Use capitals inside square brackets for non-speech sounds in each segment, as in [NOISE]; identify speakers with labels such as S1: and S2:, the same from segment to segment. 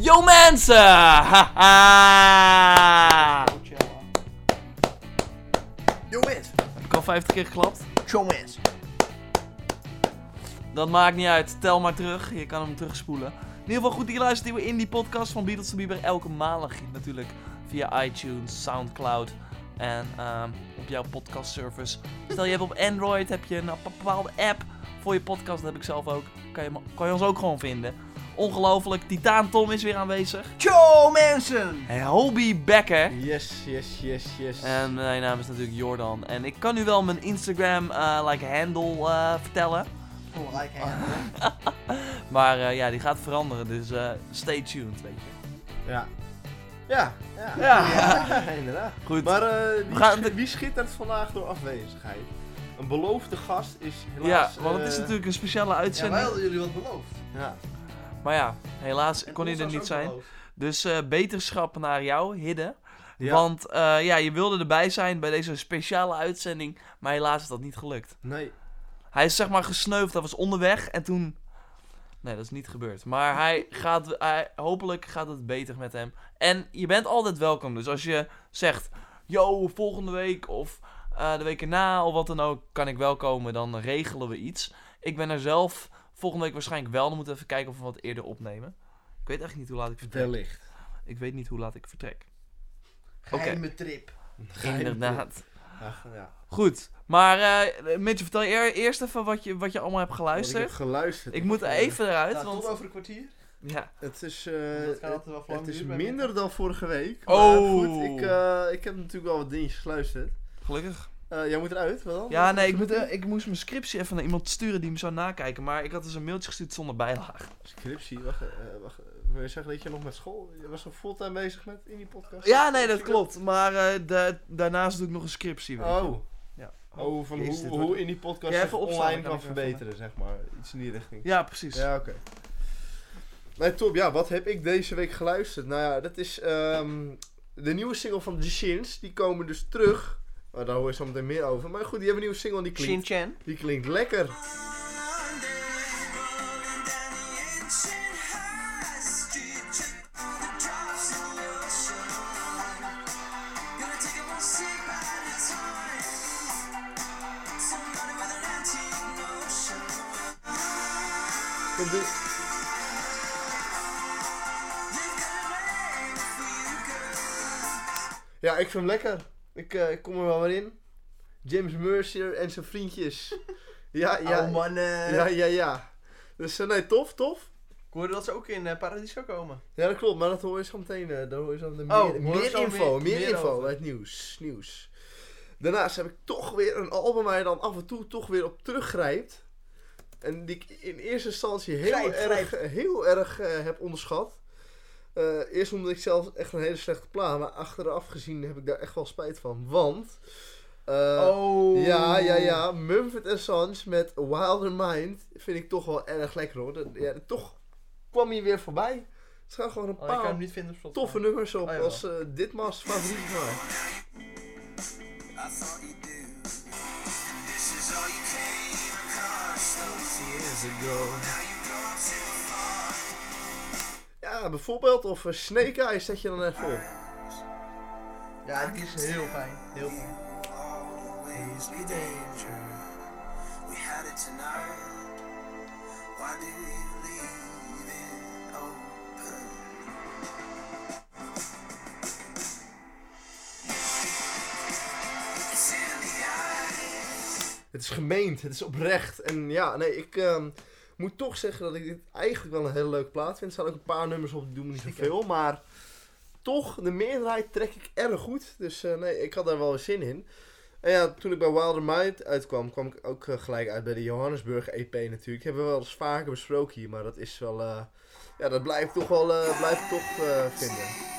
S1: Yo mensen! Haha!
S2: Jongens,
S1: Heb ik al 50 keer geklapt?
S2: jongens.
S1: Dat maakt niet uit. Tel maar terug. Je kan hem terugspoelen. In ieder geval goed dat je luistert nieuwe indie podcast van Beatles to Bieber. Elke maandag natuurlijk via iTunes, Soundcloud en ehm, op jouw podcast service. Stel je hebt op Android heb je een bepaalde app voor je podcast. Dat heb ik zelf ook. Kan je, me- kan je ons ook gewoon vinden. Ongelooflijk. Titaan Tom is weer aanwezig.
S2: Yo mensen!
S1: En Hobie Becker.
S2: Yes, yes, yes, yes.
S1: En mijn naam is natuurlijk Jordan. En ik kan nu wel mijn Instagram eh, like handle eh, vertellen.
S2: Oh, like him.
S1: Maar eh, ja, die gaat veranderen. Dus eh, stay tuned, weet je.
S3: Ja. Ja, ja. [LAUGHS]
S1: Ja.
S3: inderdaad.
S1: Goed.
S3: Maar eh, wie,
S1: We gaan
S3: schi-
S1: de-
S3: wie schittert vandaag door afwezigheid? Een beloofde gast is
S1: ja,
S3: helaas...
S1: want het is
S3: eh,
S1: natuurlijk een speciale
S2: Ja,
S1: uitzending.
S2: wij hadden jullie wat beloofd.
S3: Ja.
S1: Maar ja, helaas kon hij
S2: dit
S1: er niet zijn. Dus eh, beterschap naar jou, Hidde.
S3: Ja.
S1: Want eh, ja, je wilde erbij zijn bij deze speciale uitzending. Maar helaas is dat niet gelukt.
S3: Nee.
S1: Hij is zeg maar gesneuveld. Hij was onderweg en toen... Nee, dat is niet gebeurd. Maar hij gaat, hij, hopelijk gaat het beter met hem. En je bent altijd welkom. Dus als je zegt, yo, volgende week of eh, de week erna of wat dan ook, kan ik wel komen. Dan regelen we iets. Ik ben er zelf volgende week waarschijnlijk wel. Dan moeten we even kijken of we wat eerder opnemen. Ik weet echt niet hoe laat ik vertrek.
S3: Wellicht.
S1: Ik weet niet hoe laat ik vertrek.
S2: Geheime trip.
S1: Inderdaad.
S3: Ach, ja.
S1: Goed. Maar eh Mitch, vertel je eer- eerst even wat je, wat je allemaal hebt
S3: Want Ik
S1: geluisterd.
S3: heb geluisterd.
S1: Ik moet
S3: Eh,
S1: even eruit,
S2: Nou, tot
S1: want...
S2: over een kwartier.
S1: Ja.
S3: Het is,
S2: Dat
S3: eh,
S2: gaat altijd
S3: het,
S2: wel voor lang
S3: het is
S2: duren bij
S3: minder dan vorige week.
S1: Oh.
S3: Maar goed, ik, eh, ik heb natuurlijk wel wat dingetjes geluisterd.
S1: Gelukkig.
S3: Eh, jij moet eruit, wel?
S1: Ja, nee, ik, moet, eh, ik moest mijn scriptie even naar iemand sturen die hem zou nakijken. Maar ik had dus een mailtje gestuurd zonder Dus bijlage.
S3: Scriptie, wacht, eh, wacht. Wil je zeggen dat je nog met school... Je was nog fulltime bezig met in die podcast?
S1: Ja, nee, dat klopt. Maar eh, da- daarnaast doe ik nog een scriptie. weet je.
S3: Oh.
S1: Ja.
S3: Oh, van
S1: Jezus,
S3: hoe,
S1: dit
S3: hoe
S1: wordt-
S3: in die podcast
S1: Ja,
S3: zich
S1: even opslaan,
S3: online
S1: dan
S3: kan,
S1: kan ik weer
S3: verbeteren, zeg maar. Iets in die richting.
S1: Ja, precies.
S3: Ja, oké. Nee, top. Ja, wat heb ik deze week geluisterd? Nou ja, dat is ehm, de nieuwe single van The Shins. Die komen dus terug. Maar daar hoor je zo meteen meer over. Maar goed, die hebben een nieuwe single en die klinkt,
S1: Chan.
S3: die klinkt lekker. Komt dit- Ja, ik vind hem lekker. Ik, eh, ik kom er wel weer in. James Mercer en zijn vriendjes. Ja, ja.
S2: Oh man, eh,
S3: Ja, ja, ja. Dus eh, nee, tof, tof.
S2: ik hoorde dat ze ook in eh, Paradiso komen.
S3: Ja, dat klopt, maar dat hoor je zo meteen. eh, daar hoor je zo meteen
S2: Oh,
S3: meer,
S2: hoor je
S3: meer
S2: zo
S3: info,
S2: meer-
S3: meer,
S2: meer
S3: info
S2: over.
S3: uit nieuws, nieuws. Daarnaast heb ik toch weer een album waar je dan af en toe toch weer op teruggrijpt. En die ik in eerste instantie
S2: Grijp,
S3: heel erg, Heel erg eh, heb onderschat. Eh, eerst omdat ik zelf echt een hele slechte plaat, maar achteraf gezien heb ik daar echt wel spijt van. Want, eh,
S2: oh.
S3: ja, ja, ja, Mumford Sons met Wilder Mind vind ik toch wel erg lekker hoor. Dat- ja, toch kwam hij weer voorbij. Het zijn gewoon een
S2: Oh, ik
S3: paar
S2: kan hem niet vinden op Spotify.
S3: toffe nummers op
S2: Oh, ja.
S3: als eh ditmaals favoriet van mij. Ja, bijvoorbeeld of eh, Snake Eyes zet je dan even op.
S2: Ja, die is heel fijn. Heel fijn.
S4: always be danger. We had it tonight. Why do you leave it open? It's in the eyes.
S3: Het is gemeend, het is oprecht. En ja, nee, ik ehm, moet toch zeggen dat ik dit eigenlijk wel een hele leuke plaat vind. Er staan ook een paar nummers op, die doen me niet zoveel. Maar toch, de meerderheid trek ik erg goed. Dus eh, nee, ik had daar wel weer zin in. En ja, toen ik bij Wilder Mind uitkwam, kwam ik ook eh, gelijk uit bij de Johannesburg EP natuurlijk. Hebben we wel eens vaker besproken hier, maar dat is wel... eh, ja, dat blijf ik toch wel eh, blijf ik toch, eh, vinden.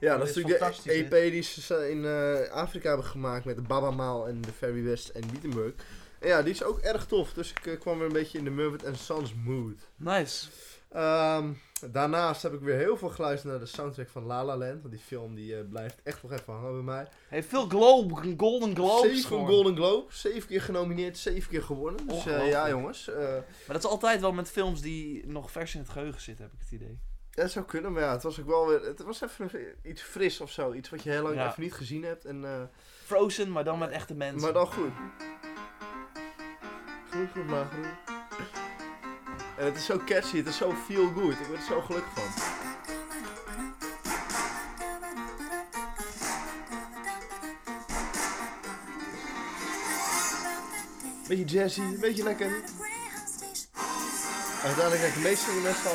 S3: Ja, dat
S2: Dat
S3: is
S2: is
S3: natuurlijk de
S2: fantastisch,
S3: EP
S2: hè?
S3: die ze in eh, Afrika hebben gemaakt met de Baba Maal en de Fairy West en Wittenberg. En ja, die is ook erg tof, dus ik eh, kwam weer een beetje in de Murphy Sons mood.
S1: Nice.
S3: Ehm, daarnaast heb ik weer heel veel geluisterd naar de soundtrack van La La Land. Want die film die, eh, blijft echt nog even hangen bij mij.
S1: Heeft veel Globe, Golden Globes.
S3: zeven
S1: gewoon.
S3: Golden Globe. Zeven keer genomineerd, zeven keer gewonnen. Dus eh,
S1: Ongelooflijk.
S3: ja jongens, eh,
S1: Maar dat is altijd wel met films die nog vers in het geheugen zitten, heb ik het idee.
S3: dat zou kunnen. Maar ja, het was ook wel weer... Het was even iets fris of zo. Iets wat je heel lang
S1: Ja.
S3: even niet gezien hebt. En, eh,
S1: Frozen, maar dan met echte mensen.
S3: maar dan goed. Goed, goed, maar goed. En het is zo catchy, het is zo feel good. Ik word er zo gelukkig van. Beetje jazzy, een beetje lekker. Uiteindelijk heb ik de meeste in de best al.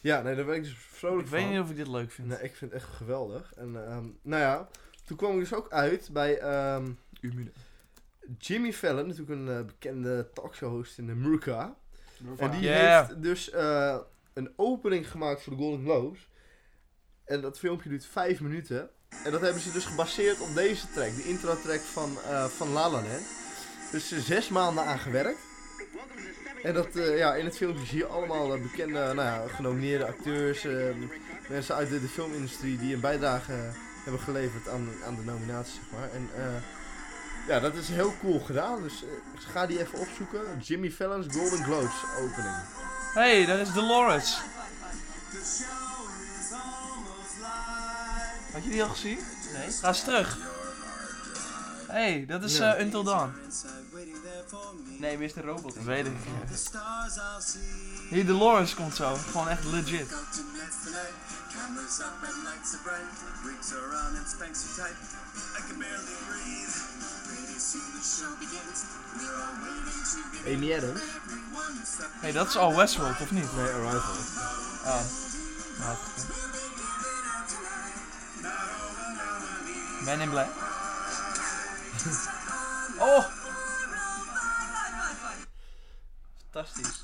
S3: Ja, nee, daar ben ik dus vrolijk
S1: ik
S3: van.
S1: weet niet of ik dit leuk vind.
S3: Nee, ik vind het echt geweldig. En ehm, nou ja, toen kwam ik dus ook uit bij ehm, Jimmy Fallon, natuurlijk een eh, bekende talkshow-host in Amerika. En die
S1: Yeah.
S3: heeft dus eh, een opening gemaakt voor de Golden Globes. En dat filmpje duurt vijf minuten. En dat hebben ze dus gebaseerd op deze track, de intro-track van, eh van La La Land. Dus er zes maanden aan gewerkt. En dat, eh, ja, in het filmpje zie je allemaal eh, bekende, nou ja, genomineerde acteurs, eh, mensen uit de, de filmindustrie die een bijdrage eh, hebben geleverd aan, aan de nominatie, zeg maar. En eh, ja, dat is heel cool gedaan, dus eh, ga die even opzoeken. Jimmy Fallon's Golden Globes opening.
S1: hey, daar is Dolores. Had je die al gezien? Nee. Ga eens terug. hey, dat is
S3: Ja.
S1: eh, Until Dawn.
S2: Nee, Mr. Robot.
S1: Dat weet ik. Hier, Dolores komt zo. Gewoon echt legit.
S3: Amy Adams?
S1: hey, dat is al Westworld, of niet?
S3: Nee, Arrival.
S1: Oh. Nou, had ik gekund. Men in Black. [LAUGHS] oh! Fantastisch.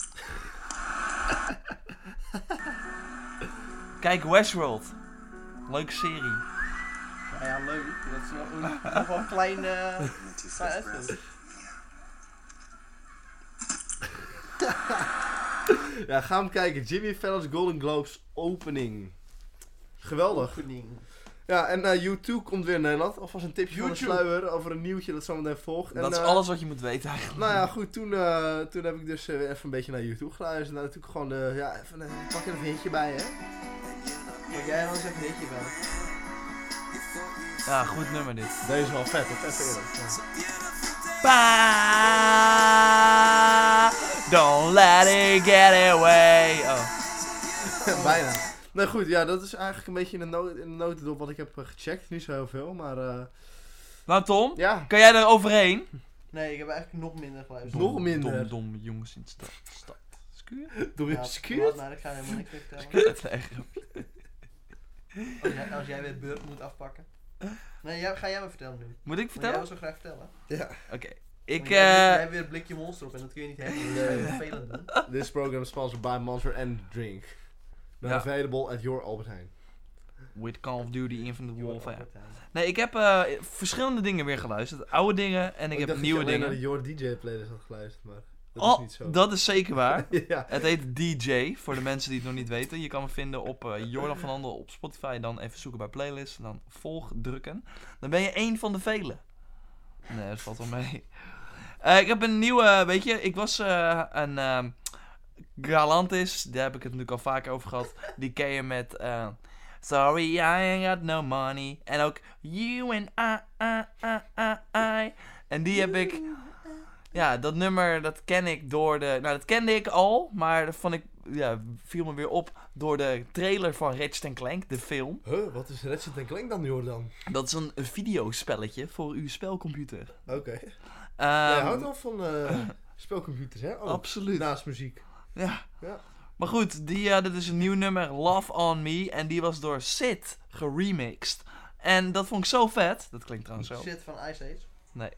S1: [LAUGHS] Kijk, Westworld. Leuke serie.
S2: Ja, ja, leuk. Dat is wel een, [LAUGHS] nog wel een
S3: [LAUGHS]
S2: klein... eh, klein uitveld.
S3: Ja, ga hem kijken. Jimmy Fallon's Golden Globes opening. Geweldig.
S2: Oefening.
S3: Ja, en eh, U2 komt weer in Nederland. Alvast een tipje van de
S1: U2.
S3: sluier over een nieuwtje dat zometeen volgt. En,
S1: dat is
S3: eh,
S1: alles wat je moet weten eigenlijk.
S3: Nou ja, goed, toen, eh, toen heb ik dus eh, weer even een beetje naar YouTube geluisterd. Nou, natuurlijk gewoon, eh, ja, even een pak er even eentje bij, hè.
S2: Maar jij dan zegt weet je wel.
S1: Ja, goed nummer dit.
S3: Deze is wel vet, dat is echt eerlijk.
S1: Ba- Don't let it get away. Oh. [LAUGHS]
S3: Ja, Bijna. Nou goed, ja, dat is eigenlijk een beetje in de, no in de notendop wat ik heb eh, gecheckt. Niet zo heel veel, maar eh,
S1: Nou, Tom, [LAUGHS]
S3: ja,
S1: kan jij er overheen?
S2: Nee, ik heb eigenlijk nog minder geluisterd.
S3: Nog minder.
S1: Dom, dom jongens in de stad. stad.
S3: [LAUGHS]
S1: Scuur?
S3: door je
S2: Ja,
S3: skeurt.
S2: Maar ik ga helemaal niks meer vertellen.
S1: [LAUGHS] Nee, grapje.
S2: Als jij, als jij weer beurt moet afpakken. Nee, jij, ga jij me vertellen nu.
S1: Moet ik
S2: Want jij
S1: vertellen?
S2: wil zo graag vertellen.
S3: Ja,
S1: Oké. Ik,
S2: Want jij,
S1: eh
S2: hebt weer een blikje monster op en dat kun je niet hebben. dus Dat is vervelend doen.
S3: [LAUGHS] this program is sponsored by Monster and Drink. Now
S1: Ja.
S3: available at your Albert Heijn.
S1: with Call of Duty Infinite Warfare.
S2: Jongen, Albert
S1: Nee, ik heb eh, verschillende dingen weer geluisterd. Oude dingen en ik, heb
S3: dacht
S1: nieuwe
S3: dat je alleen
S1: dingen.
S3: naar de Your DJ playlist had geluisterd, maar dat is
S1: oh,
S3: niet zo.
S1: dat is zeker waar.
S3: [LAUGHS] ja.
S1: Het heet DJ, voor de mensen die het nog niet weten. Je kan me vinden op eh, Jordan van Handel op Spotify. Dan even zoeken bij playlist. En dan volg drukken. Dan ben je één van de velen. Nee, dat valt wel mee. Eh, ik heb een nieuwe, weet je, ik was eh, een ehm, Galantis. Daar heb ik het natuurlijk al vaker over gehad. Die ken je met eh, Sorry, I ain't got no money. En ook You and I, I, I, I, I. En die heb ik ja, dat nummer, dat ken ik door de... Nou, dat kende ik al, maar dat vond ik... Ja, viel me weer op door de trailer van Ratchet Clank, de film.
S3: Huh, wat is Ratchet en Clank dan, Jordan?
S1: Dat is een videospelletje voor uw spelcomputer.
S3: Oké.
S1: Ehm,
S3: Jij houdt wel van eh, [LAUGHS] speelcomputers, hè? Oh,
S1: Absoluut.
S3: Naast muziek.
S1: Ja.
S3: Ja.
S1: Maar goed, die, eh, dit is een nieuw nummer, Love On Me. En die was door Sid geremixed. En dat vond ik zo vet. Dat klinkt trouwens zo.
S2: Shit van Ice Age.
S1: Nee.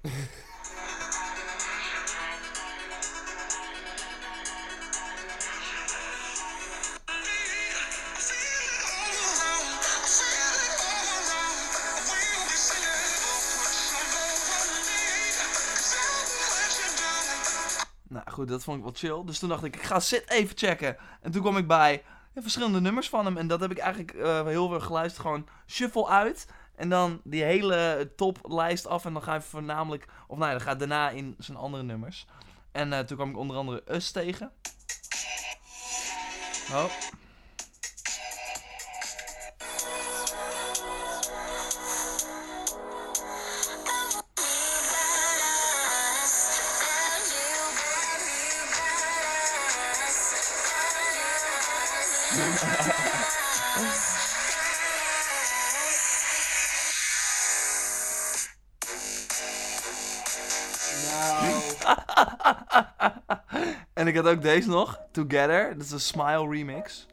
S1: Nou goed, dat vond ik wel chill. Dus toen dacht ik, ik ga Sid even checken. En toen kwam ik bij ja, verschillende nummers van hem. En dat heb ik eigenlijk eh, heel veel geluisterd. Gewoon shuffle uit. En dan die hele toplijst af. En dan ga je voornamelijk... Of nee, dan gaat daarna in zijn andere nummers. En eh, toen kwam ik onder andere Us tegen. Oh.
S2: Nou,
S1: En ik had ook deze nog. Together. Dat is een Smile remix.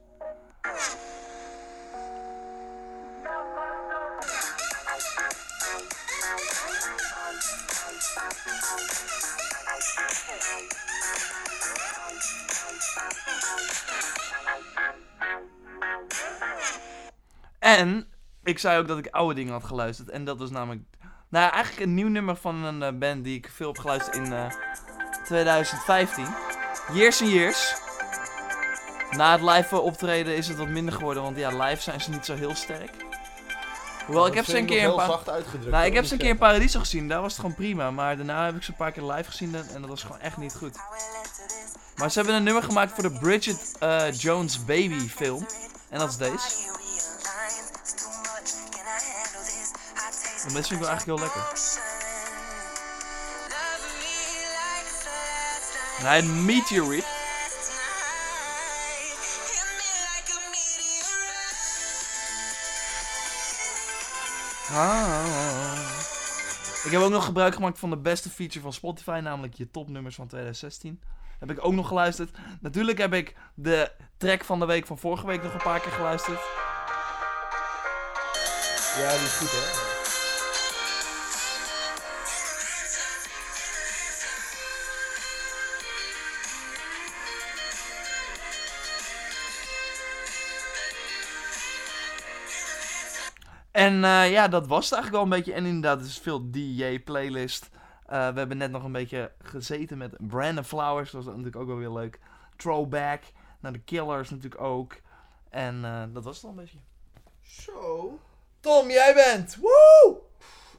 S1: En ik zei ook dat ik oude dingen had geluisterd. En dat was namelijk... Nou, eigenlijk een nieuw nummer van een eh, band die ik veel heb geluisterd in eh, 2015. Years and Years. Na het live eh, optreden is het wat minder geworden, want ja, live zijn ze niet zo heel sterk. Hoewel, ik heb ze een keer een
S3: heel
S1: paar...
S3: zacht uitgedrukt.
S1: Nou,
S3: hoor,
S1: ik heb
S3: moet
S1: ze een
S3: ik
S1: keer in
S3: zeggen.
S1: Paradiso gezien, daar was het gewoon prima. Maar daarna heb ik ze een paar keer live gezien en en dat was gewoon echt niet goed. Maar ze hebben een nummer gemaakt voor de Bridget eh, Jones Baby film. En dat is deze. En deze vind ik wel eigenlijk heel lekker. En hij heet Meteorite. Ah. Ik heb ook nog gebruik gemaakt van de beste feature van Spotify, namelijk je topnummers van 2016. Heb ik ook nog geluisterd. Natuurlijk heb ik de track van de week van vorige week nog een paar keer geluisterd.
S3: Ja, die is goed,
S1: [LAUGHS]
S3: hè?
S1: En eh, ja, dat was het eigenlijk wel een beetje. En inderdaad, het is veel DJ-playlist. we hebben net nog een beetje gezeten met Brandon Flowers. Dat was natuurlijk ook wel weer leuk. Throwback. Naar de Killers natuurlijk ook. En eh, dat was het al een beetje.
S2: zo.
S1: Tom, jij bent! Woe!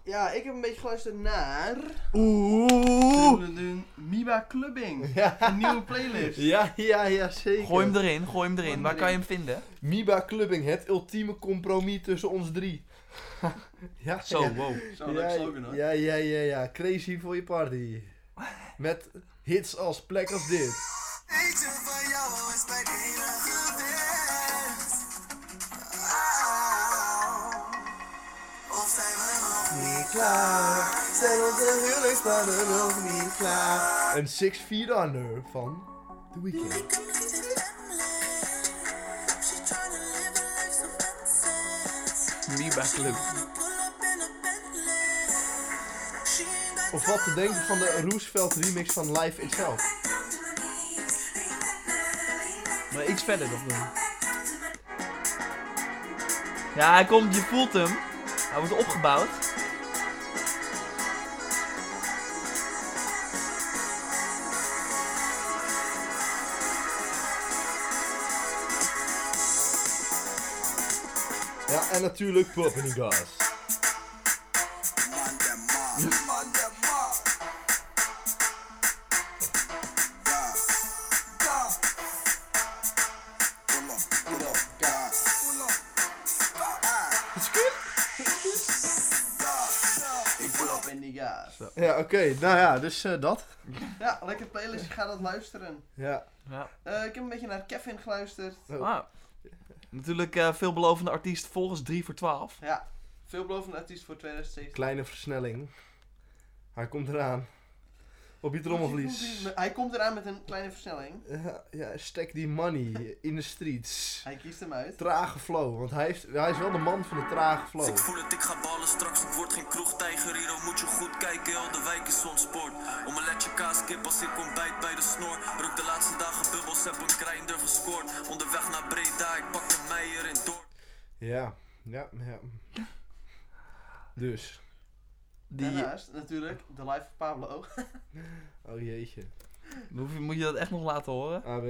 S2: Ja, ik heb een beetje geluisterd naar...
S1: Oeh!
S2: Miba
S1: [LAUGHS]
S2: Clubbing.
S3: Ja.
S2: Een nieuwe playlist.
S3: Ja, ja, ja, zeker.
S1: Gooi hem erin, gooi hem erin.
S2: hem
S1: Waar kan je
S2: erin.
S1: hem vinden?
S3: Miba Clubbing, het ultieme compromis tussen ons drie. [LAUGHS] ja,
S1: Zo, wow.
S2: Zo, leuk slogan hoor.
S3: Ja, ja, ja, ja. Crazy voor je party. Met hits als plek als dit.
S4: Eentje van jou is mijn enige wens. Oh, of zijn we nog niet klaar? Zijn onze huwelijksplannen nog niet klaar?
S3: Een 6 feet under van The Weeknd.
S1: Miba Club.
S3: Of wat te denken van de Roosevelt remix van Live Itself.
S1: Maar iets verder nog doen. Ja, hij komt, je voelt hem. Hij wordt opgebouwd.
S3: Ja, en natuurlijk Poppin' Gas.
S2: Ik voel op in die gas.
S3: Ja, oké. Nou ja, dus eh, dat.
S2: Ja, lekker playlist. Ik ga dat luisteren.
S3: Ja.
S1: Ja.
S2: Eh, ik heb een beetje naar Kevin geluisterd.
S1: Ah. Natuurlijk eh, veelbelovende artiest volgens 3 voor 12.
S2: Ja, veelbelovende artiest voor 2017.
S3: Kleine versnelling. Hij komt eraan. Op je trommelvlies.
S2: Hij komt eraan met een kleine versnelling.
S3: Ja, ja, stek die money in de streets.
S2: Hij kiest hem uit.
S3: Trage flow, want hij, heeft, hij is wel de man van de trage flow.
S5: Ik voel het, ik ga ballen straks. Het wordt geen kroegtijger hier, dan moet je goed kijken. Heel de wijk is ontspoord. Om een letje kaaskip als ik ontbijt bij de snor. Rook de laatste dagen bubbels, heb een krijnder gescoord. Onderweg naar Breda, ik pak een meijer in Dordt.
S3: Ja, ja, ja. Dus.
S1: Die,
S2: Daarnaast natuurlijk de live van Pablo.
S3: Oh jeetje. Ah,
S1: Moet je, moet je dat echt nog laten horen?
S3: ABN.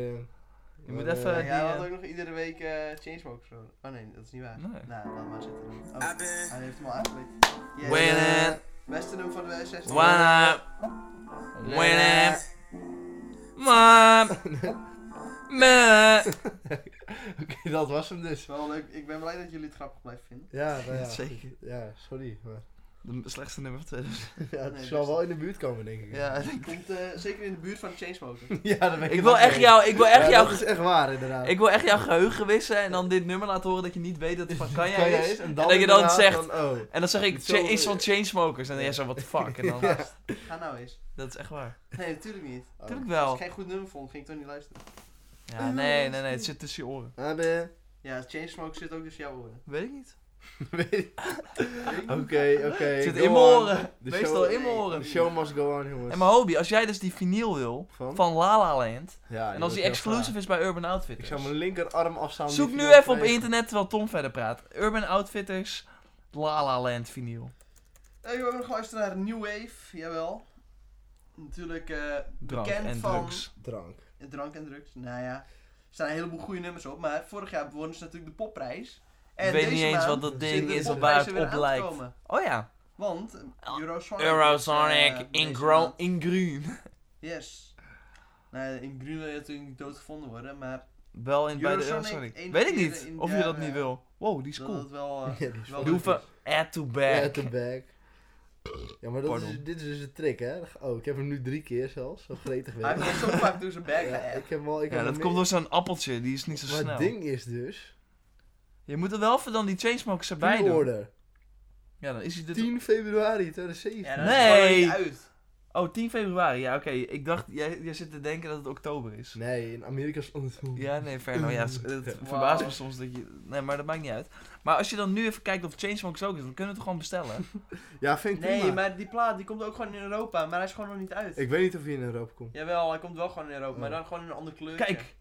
S1: Je moet
S3: Maar,
S1: even- die,
S2: Ja, [LAUGHS]
S3: eh,
S2: jij had
S1: eh,
S2: ook nog iedere week eh Chainsmokers zo. Oh nee, dat is niet waar.
S1: Nee.
S2: Nou, laat maar zitten. Oh,
S5: I've been
S2: hij heeft hem al aangeklikt. Yes.
S1: Winning,
S2: Westen ook van de 16.
S1: one
S2: Eh,
S1: up, winning, man, [LAUGHS] man.
S3: [LAUGHS] Oké, dat was hem
S2: is
S3: dus.
S2: wel leuk. Ik ben blij dat jullie het grappig blijven vinden.
S3: Ja, nou ja.
S1: [LAUGHS] Zeker.
S3: Ja, sorry. Maar, [LAUGHS]
S1: De slechtste nummer van 2000.
S3: ja, het
S2: Nee,
S3: zal
S2: dus-
S3: wel in de buurt komen, denk ik.
S1: Ja,
S2: Komt eh, zeker in de buurt van de Chainsmokers.
S3: [LAUGHS] ja dat weet
S1: ik wil
S3: ook
S1: echt
S3: niet.
S1: jou, ik wil echt
S3: Ja,
S1: jou,
S3: Dat is echt waar, inderdaad.
S1: ik wil echt jouw geheugen wissen en dan dit nummer laten horen dat je niet weet dat het
S3: [LAUGHS]
S1: van Kanye
S3: Kan jij
S1: is.
S3: eens?
S1: En dat je dan
S3: inderdaad
S1: zegt,
S3: van, oh.
S1: en dan zeg ik,
S3: Het zal-
S1: "Cha- iets van Chainsmokers. En dan jij zo,
S3: [LAUGHS]
S1: what the fuck. En dan,
S2: Ga nou eens.
S1: dat is echt waar.
S2: Nee, natuurlijk niet.
S3: Oh.
S1: Tuurlijk
S2: Als
S1: wel.
S2: ik geen goed nummer vond, ging ik toch niet luisteren.
S1: Ja, nee, nee, nee, het zit tussen je oren.
S3: ABN.
S2: Ja, Chainsmokers zit ook tussen jouw oren.
S1: Weet ik niet.
S3: [LAUGHS] Weet
S1: [LAUGHS]
S3: ik. Oké, oké.
S1: Het zit
S3: go
S1: in mijn
S3: on.
S1: oren.
S3: De
S1: Meestal
S3: show-
S1: in mijn
S3: The
S1: oren.
S3: show must go on, jongens.
S1: En mijn hobby, als jij dus die vinyl wil
S3: Van?
S1: van La La Land. En
S3: Ja,
S1: als die
S3: dat is heel
S1: exclusive
S3: graag.
S1: is bij Urban
S3: Ik
S1: Outfitters.
S3: zou mijn linkerarm afstaan. om
S1: Zoek
S3: die
S1: nu
S3: video
S1: even op
S3: te plegen.
S1: internet terwijl Tom verder praat. Urban Outfitters, La La Land vinyl.
S2: Ja, ik wil ook nog luisteren naar New Wave, jawel. Natuurlijk eh,
S1: Drank
S2: bekend
S1: en
S2: van
S1: drugs.
S3: Drank.
S2: drank en drugs. Nou ja, er staan een heleboel goede nummers op, maar vorig jaar wonnen ze natuurlijk de popprijs. En
S1: Ik weet niet
S2: deze
S1: eens
S2: maand
S1: wat dat ding
S2: zitten de
S1: is en waar
S2: popprijzen
S1: het
S2: weer
S1: op
S2: aan te
S1: lijkt.
S2: komen.
S1: Oh ja.
S2: Want Eurosonic. is,
S1: Eurosonic
S2: eh,
S1: Oh, in,
S2: deze
S1: groen,
S2: maand-
S1: in groen.
S2: Yes. Nou, in Green wil je natuurlijk niet doodgevonden worden, maar
S1: Wel in, bij de
S2: Eurosonic,
S1: Eurosonic.
S2: één
S1: Weet ik
S2: keer
S1: niet
S2: in
S1: of je
S2: jaar,
S1: dat niet
S2: eh,
S1: wil. Wow, die is
S2: dat
S1: cool.
S2: het
S3: [LAUGHS]
S2: wel... eh,
S3: Ja, die is
S2: wel
S1: Die
S2: leuk
S1: hoeven
S2: is.
S1: add to
S3: Ja,
S1: back.
S3: de back. Ja, maar dat
S1: Pardon.
S3: is, dit is dus een trick, hè? Oh, ik heb hem nu drie keer zelfs. Zo gretig weer.
S2: Hij heeft ons zo vaak door zijn bek
S3: Ja,
S2: geëpt.
S3: ik heb hem al, ik
S1: Ja,
S3: heb
S1: dat
S3: hem
S1: komt
S3: meer.
S1: door zo'n appeltje, die is niet zo
S3: Maar
S1: snel.
S3: het ding is dus...
S1: Je moet er wel voor dan die Chainsmokers erbij doen.
S3: Pre-order.
S1: Ja, dan is hij dit...
S3: 10 februari 2017.
S2: Ja, dat
S1: Nee.
S2: is gewoon niet uit.
S1: Oh, 10 februari. Ja, oké. Ik dacht, jij, jij zit te denken dat het oktober is.
S3: Nee, in Amerika is het anders.
S1: Ja, nee, Ferno. Ja, s- het
S3: Wauw.
S1: verbaast me soms dat je... Nee, maar dat maakt niet uit. Maar als je dan nu even kijkt of Chainsmokers ook is, dan kunnen we het gewoon bestellen.
S3: Ja, vind ik
S2: Nee,
S3: prima.
S2: maar die plaat die komt ook gewoon in Europa, maar hij is gewoon nog niet uit.
S3: Ik weet niet of hij in Europa komt.
S2: Jawel, hij komt wel gewoon in Europa, maar
S3: Oh.
S2: dan gewoon in een ander kleur.
S1: Kijk,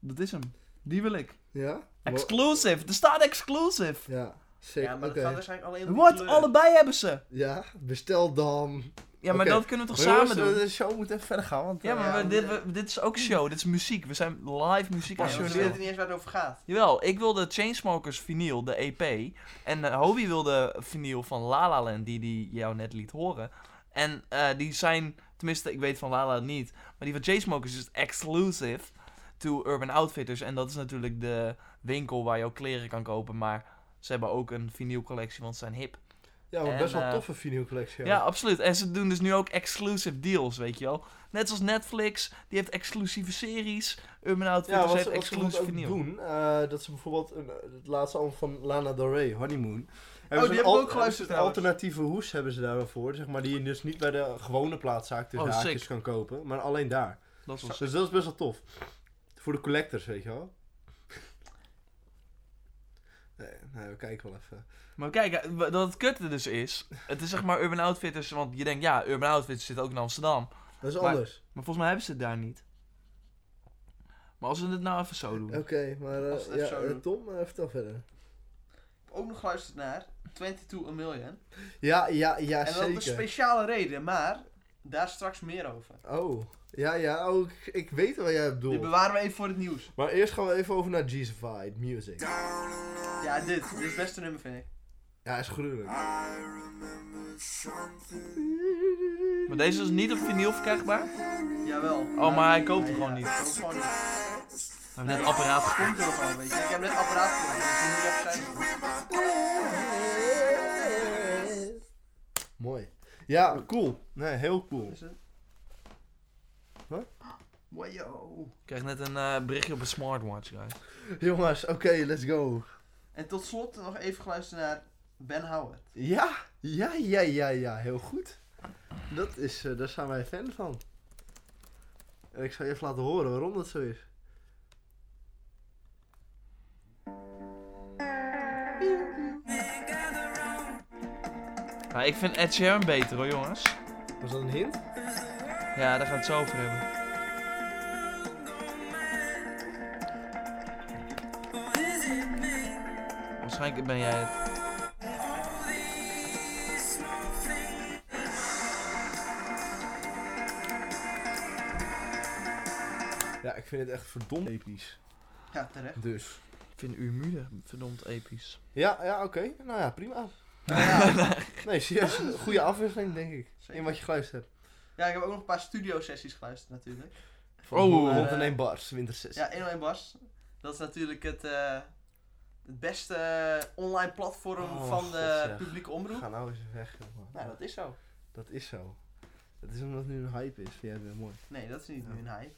S1: dat is hem. Die wil ik.
S3: Ja? Wa-
S1: Exclusive. Er staat exclusive.
S3: Ja, zeker.
S2: Ja, maar dat
S3: Oké.
S2: gaat waarschijnlijk alleen om die
S1: Wat?
S2: kleur.
S1: Allebei hebben ze.
S3: Ja, bestel dan.
S1: Ja, maar
S3: Oké.
S1: dat kunnen we toch
S3: Maar jongens,
S1: samen doen?
S3: De show moet even verder gaan, want...
S1: Ja, maar
S2: Ja,
S1: we-
S2: maar-
S1: dit, we- dit is ook show. Dit is muziek. We zijn live muziek aan
S2: Ja,
S1: het
S2: want
S3: Passioneel.
S2: ze weten
S1: spelen.
S2: niet eens waar het over gaat.
S1: Jawel, ik wilde Chainsmokers vinyl, de EP. En eh, Hobie wilde vinyl van La La Land, die die jou net liet horen. En eh, die zijn, tenminste, ik weet van La La Land niet, maar die van Chainsmokers is exclusive to Urban Outfitters. En dat is natuurlijk de winkel waar je ook kleren kan kopen, maar ze hebben ook een vinylcollectie, want ze zijn hip.
S3: Ja, maar
S1: En,
S3: best wel
S1: eh,
S3: toffe vinylcollectie.
S1: Ja, absoluut. En ze doen dus nu ook exclusive deals, weet je wel. Net zoals Netflix, die heeft exclusieve series. Urban
S3: Ja,
S1: Outfitters
S3: wat
S1: heeft
S3: ze, wat ze bijvoorbeeld
S1: exclusive
S3: ook
S1: vinyl.
S3: doen, eh, dat ze bijvoorbeeld een, eh, het laatste album van Lana Del Rey,
S2: Oh,
S3: Honeymoon.
S2: die heb ik ook geluisterd
S3: Een
S2: trouwens.
S3: alternatieve hoes hebben ze daarvoor, zeg maar, die je dus niet bij de gewone plaatzaak tussen
S1: Oh,
S3: haakjes
S1: sick.
S3: kan kopen, maar alleen daar.
S1: Dat was
S3: Dus dat is best wel tof. Voor de collectors, weet je wel. Nee, nee, we kijken wel even.
S1: Maar kijk, eh, wa- dat het kutte dus is. Het is zeg maar Urban Outfitters, want je denkt ja, Urban Outfitters zit ook in Amsterdam.
S3: Dat is
S1: Maar-
S3: anders.
S1: Maar volgens mij hebben ze het daar niet. Maar als we het nou even zo doen.
S3: Oké, maar eh,
S2: Als we het
S3: ja,
S2: zo
S3: eh,
S2: doen.
S3: Tom, eh, vertel verder.
S2: Ik heb ook nog geluisterd naar 22 A Million.
S3: Ja, ja, ja,
S2: en dat
S3: zeker.
S2: is een speciale reden, maar daar straks meer over.
S3: Oh, ja, ja, oh, ik, ik weet wat jij
S2: Die
S3: bedoelt.
S2: bewaren we even voor het nieuws.
S3: Maar eerst gaan we even over naar Jeezified Music.
S4: Down and out,
S2: Ja, dit. Dit is het beste nummer, vind ik.
S3: Ja, is gruwelijk.
S4: I remember something.
S1: Maar deze is niet op vinyl verkrijgbaar. We
S2: Jawel.
S1: Oh, maar hij koopt hem gewoon niet.
S2: Hij koopt hem gewoon niet.
S1: hebben net het apparaat
S2: Hij
S1: gekocht.
S2: komt er gewoon, weet je. Ik heb net apparaat gekocht, dus ik moet even kijken.
S3: Mooi. Ja, cool. Nee, heel cool.
S2: Is het?
S3: Wat?
S2: Wajo.
S1: Ik krijg net een eh, berichtje op een smartwatch, guys.
S3: Jongens, oké, let's go.
S2: En tot slot nog even geluisterd naar Ben Howard.
S3: Ja, ja, ja, ja, ja, heel goed. Dat is, eh, daar zijn wij fan van. En ik zal je even laten horen waarom dat zo is.
S1: Maar ik vind Ed Sheeran beter hoor, jongens.
S3: Was dat een hint?
S1: Ja, daar gaan we het zo over hebben. Waarschijnlijk ben jij het.
S3: Ja, ik vind het echt verdomd episch.
S2: Ja, terecht.
S3: Dus.
S1: Ik vind Umude verdomd episch.
S3: Ja, ja oké. Nou ja, prima. [LAUGHS] Nee, serieus. Goede afwisseling, denk ik.
S2: Zeker.
S3: In wat je geluisterd hebt.
S2: Ja, ik heb ook nog een paar studiosessies geluisterd natuurlijk.
S3: Van
S1: Oh.
S3: Holland in één bars, wintersessie.
S2: Dus Ja, 101 Bas. Dat is natuurlijk het, eh, het beste eh, online platform
S3: Oh,
S2: van
S3: God,
S2: de
S3: zeg.
S2: publieke omroep.
S3: Ga nou eens weg, joh, man.
S2: Nou, dat is zo.
S3: Dat is zo. Dat is omdat het nu een hype is. Vind jij het weer mooi?
S2: Nee, dat is niet
S3: Ja. Hm.
S2: nu een hype.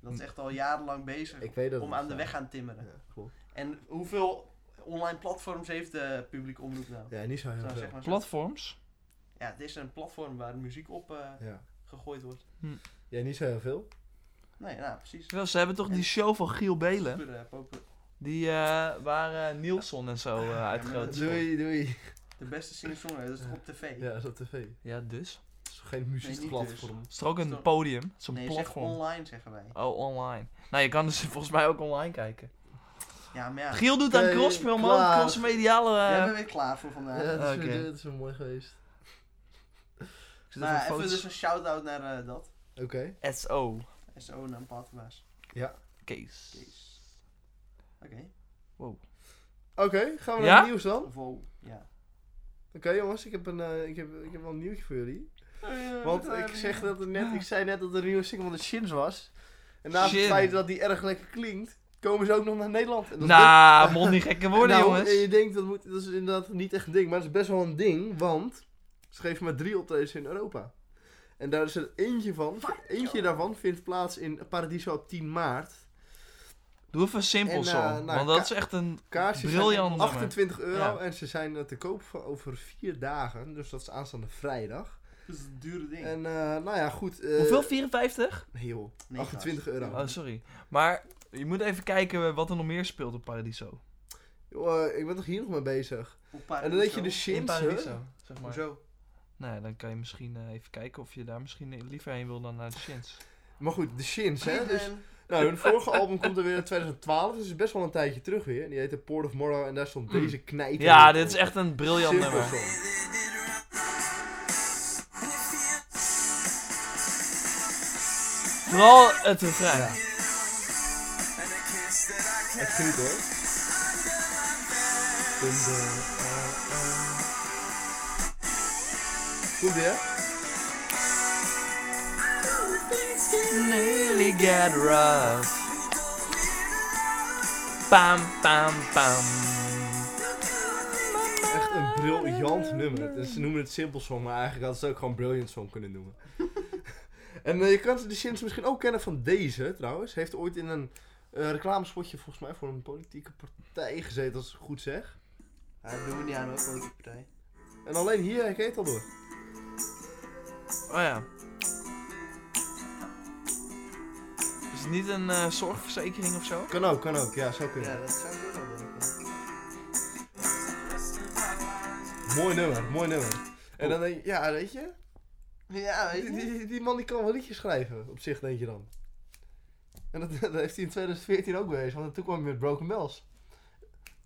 S2: Dat is echt al jarenlang bezig
S3: Ik weet dat
S2: om
S3: het
S2: aan de weg
S3: bestaat.
S2: aan timmeren.
S3: Ja, klopt.
S2: En hoeveel online platforms heeft de publieke omroep nou?
S3: Ja, niet zo heel
S2: Zo,
S3: veel.
S2: zeg maar zo.
S1: Platforms?
S2: Ja, het is een platform waar muziek op eh,
S3: Ja.
S2: gegooid wordt.
S3: ja, niet zo heel veel.
S2: Nee, nou precies.
S1: Wel, Ze hebben toch die show van Giel Belen?
S2: Super, eh, popu-
S1: Die eh waar eh, Nielsen en zo eh uitgroot is.
S3: Doei, doei.
S2: De beste singer-songwriter, dat is toch op tv?
S3: Ja, dat is op tv. Het
S1: Ja, dus?
S3: is geen muziekplatform.
S1: Is er ook
S2: Is
S1: een
S2: er-
S1: podium? Het is een
S2: Nee, zeg
S1: platform.
S2: online zeggen wij.
S1: Oh, online. Nou, je kan dus [LAUGHS] volgens mij ook online kijken.
S2: Ja, maar ja.
S1: Giel doet aan
S3: Oké,
S1: crossspel, man.
S3: klaar.
S1: Crossmediale. eh,
S2: Jij bent weer klaar voor vandaag.
S3: Ja, dat is,
S1: Oké.
S3: weer, dat is wel mooi geweest.
S1: ik zit even
S2: Nou, ja, even
S1: foto's-
S2: dus een shout-out naar eh, dat.
S3: Oké.
S1: SO.
S2: SO naar Patma's.
S1: Kees.
S2: Oké.
S3: Oké, gaan we naar
S1: Ja?
S3: het nieuws dan? Oké
S2: Of oh, ja.
S3: jongens, ik heb, een, eh, ik, heb, ik heb wel een nieuwtje voor jullie.
S2: Oh,
S3: Want ik, zeg dat er net, ik zei net dat er een nieuwe single van de Shins was. En naast
S1: Shin.
S3: het feit dat die erg lekker klinkt, komen ze ook nog naar Nederland. En dat is
S1: Nou, mond niet gekker
S3: best-
S1: worden,
S3: Nou,
S1: jongens.
S3: en Je denkt, dat, moet, dat is inderdaad niet echt een ding, maar het is best wel een ding, want ze geven maar drie optredens in Europa. En daar is er eentje van, eentje daarvan vindt plaats in Paradiso op 10 maart.
S1: Doe even een simpel
S3: En, eh,
S1: song.
S3: nou,
S1: want dat
S3: ka-
S1: is echt een
S3: Kaarsjes
S1: briljant
S3: zijn
S1: nummer.
S3: 28 euro
S1: Ja.
S3: en ze zijn eh, te koop voor over vier dagen. Dus dat is aanstaande vrijdag.
S2: Dat is een dure ding.
S3: En eh, nou ja, goed. eh, nou.
S1: Hoeveel? 54?
S3: Nee joh,
S2: Nee,
S3: 28
S2: gast.
S3: euro.
S1: Oh, sorry. Maar je moet even kijken eh, wat er nog meer speelt op Paradiso.
S3: Joh, eh, ik ben toch hier nog mee bezig.
S2: Op Paradiso.
S3: En dan weet je dus- de
S1: In
S3: shins, hè?
S1: Paradiso, zeg maar.
S2: Hoezo?
S1: Nee, dan kan je misschien eh, even kijken of je daar misschien liever heen wil dan naar de Shins.
S3: Maar goed, de shins, hè?
S1: eh,
S2: Hey,
S3: Dus,
S2: man.
S3: nou, hun vorige album komt er weer in 2012, dus het is best wel een tijdje terug weer. Die heette Port of Morrow en daar stond deze knijter.
S1: Mm. Ja,
S3: op.
S1: dit is echt een briljant
S3: Simpel
S1: nummer.
S3: song.
S1: Vooral het refrein.
S3: Ja. Echt goed hoor. Dun, dun, eh, eh. Goed hè?
S1: Nearly get rough. Pam, pam, pam.
S3: Echt een briljant nummer. Dus ze noemen het Simple Song, maar eigenlijk hadden ze het ook gewoon Brilliant Song kunnen noemen. [LAUGHS] en eh, je kan de Sims misschien ook kennen van deze trouwens. Heeft ooit in een eh, reclamespotje volgens mij voor een politieke partij gezeten, als ik het goed zeg.
S2: Ja, dat doen we niet aan hoor, politieke partij.
S3: En alleen hier herken je het al door.
S1: Oh ja. Is het niet een eh, zorgverzekering of zo?
S3: Kan ook, kan ook. Ja, zou kunnen.
S2: Ja, dat zou ik ook wel willen.
S3: Mooi nummer, mooi nummer. En dan denk je, ja weet je,
S2: Ja, weet
S3: die,
S2: je.
S3: die, die man die kan wel liedjes schrijven, op zich denk je dan. En dat, [LAUGHS] dat heeft hij in 2014 ook bewezen, want toen kwam hij met Broken Bells.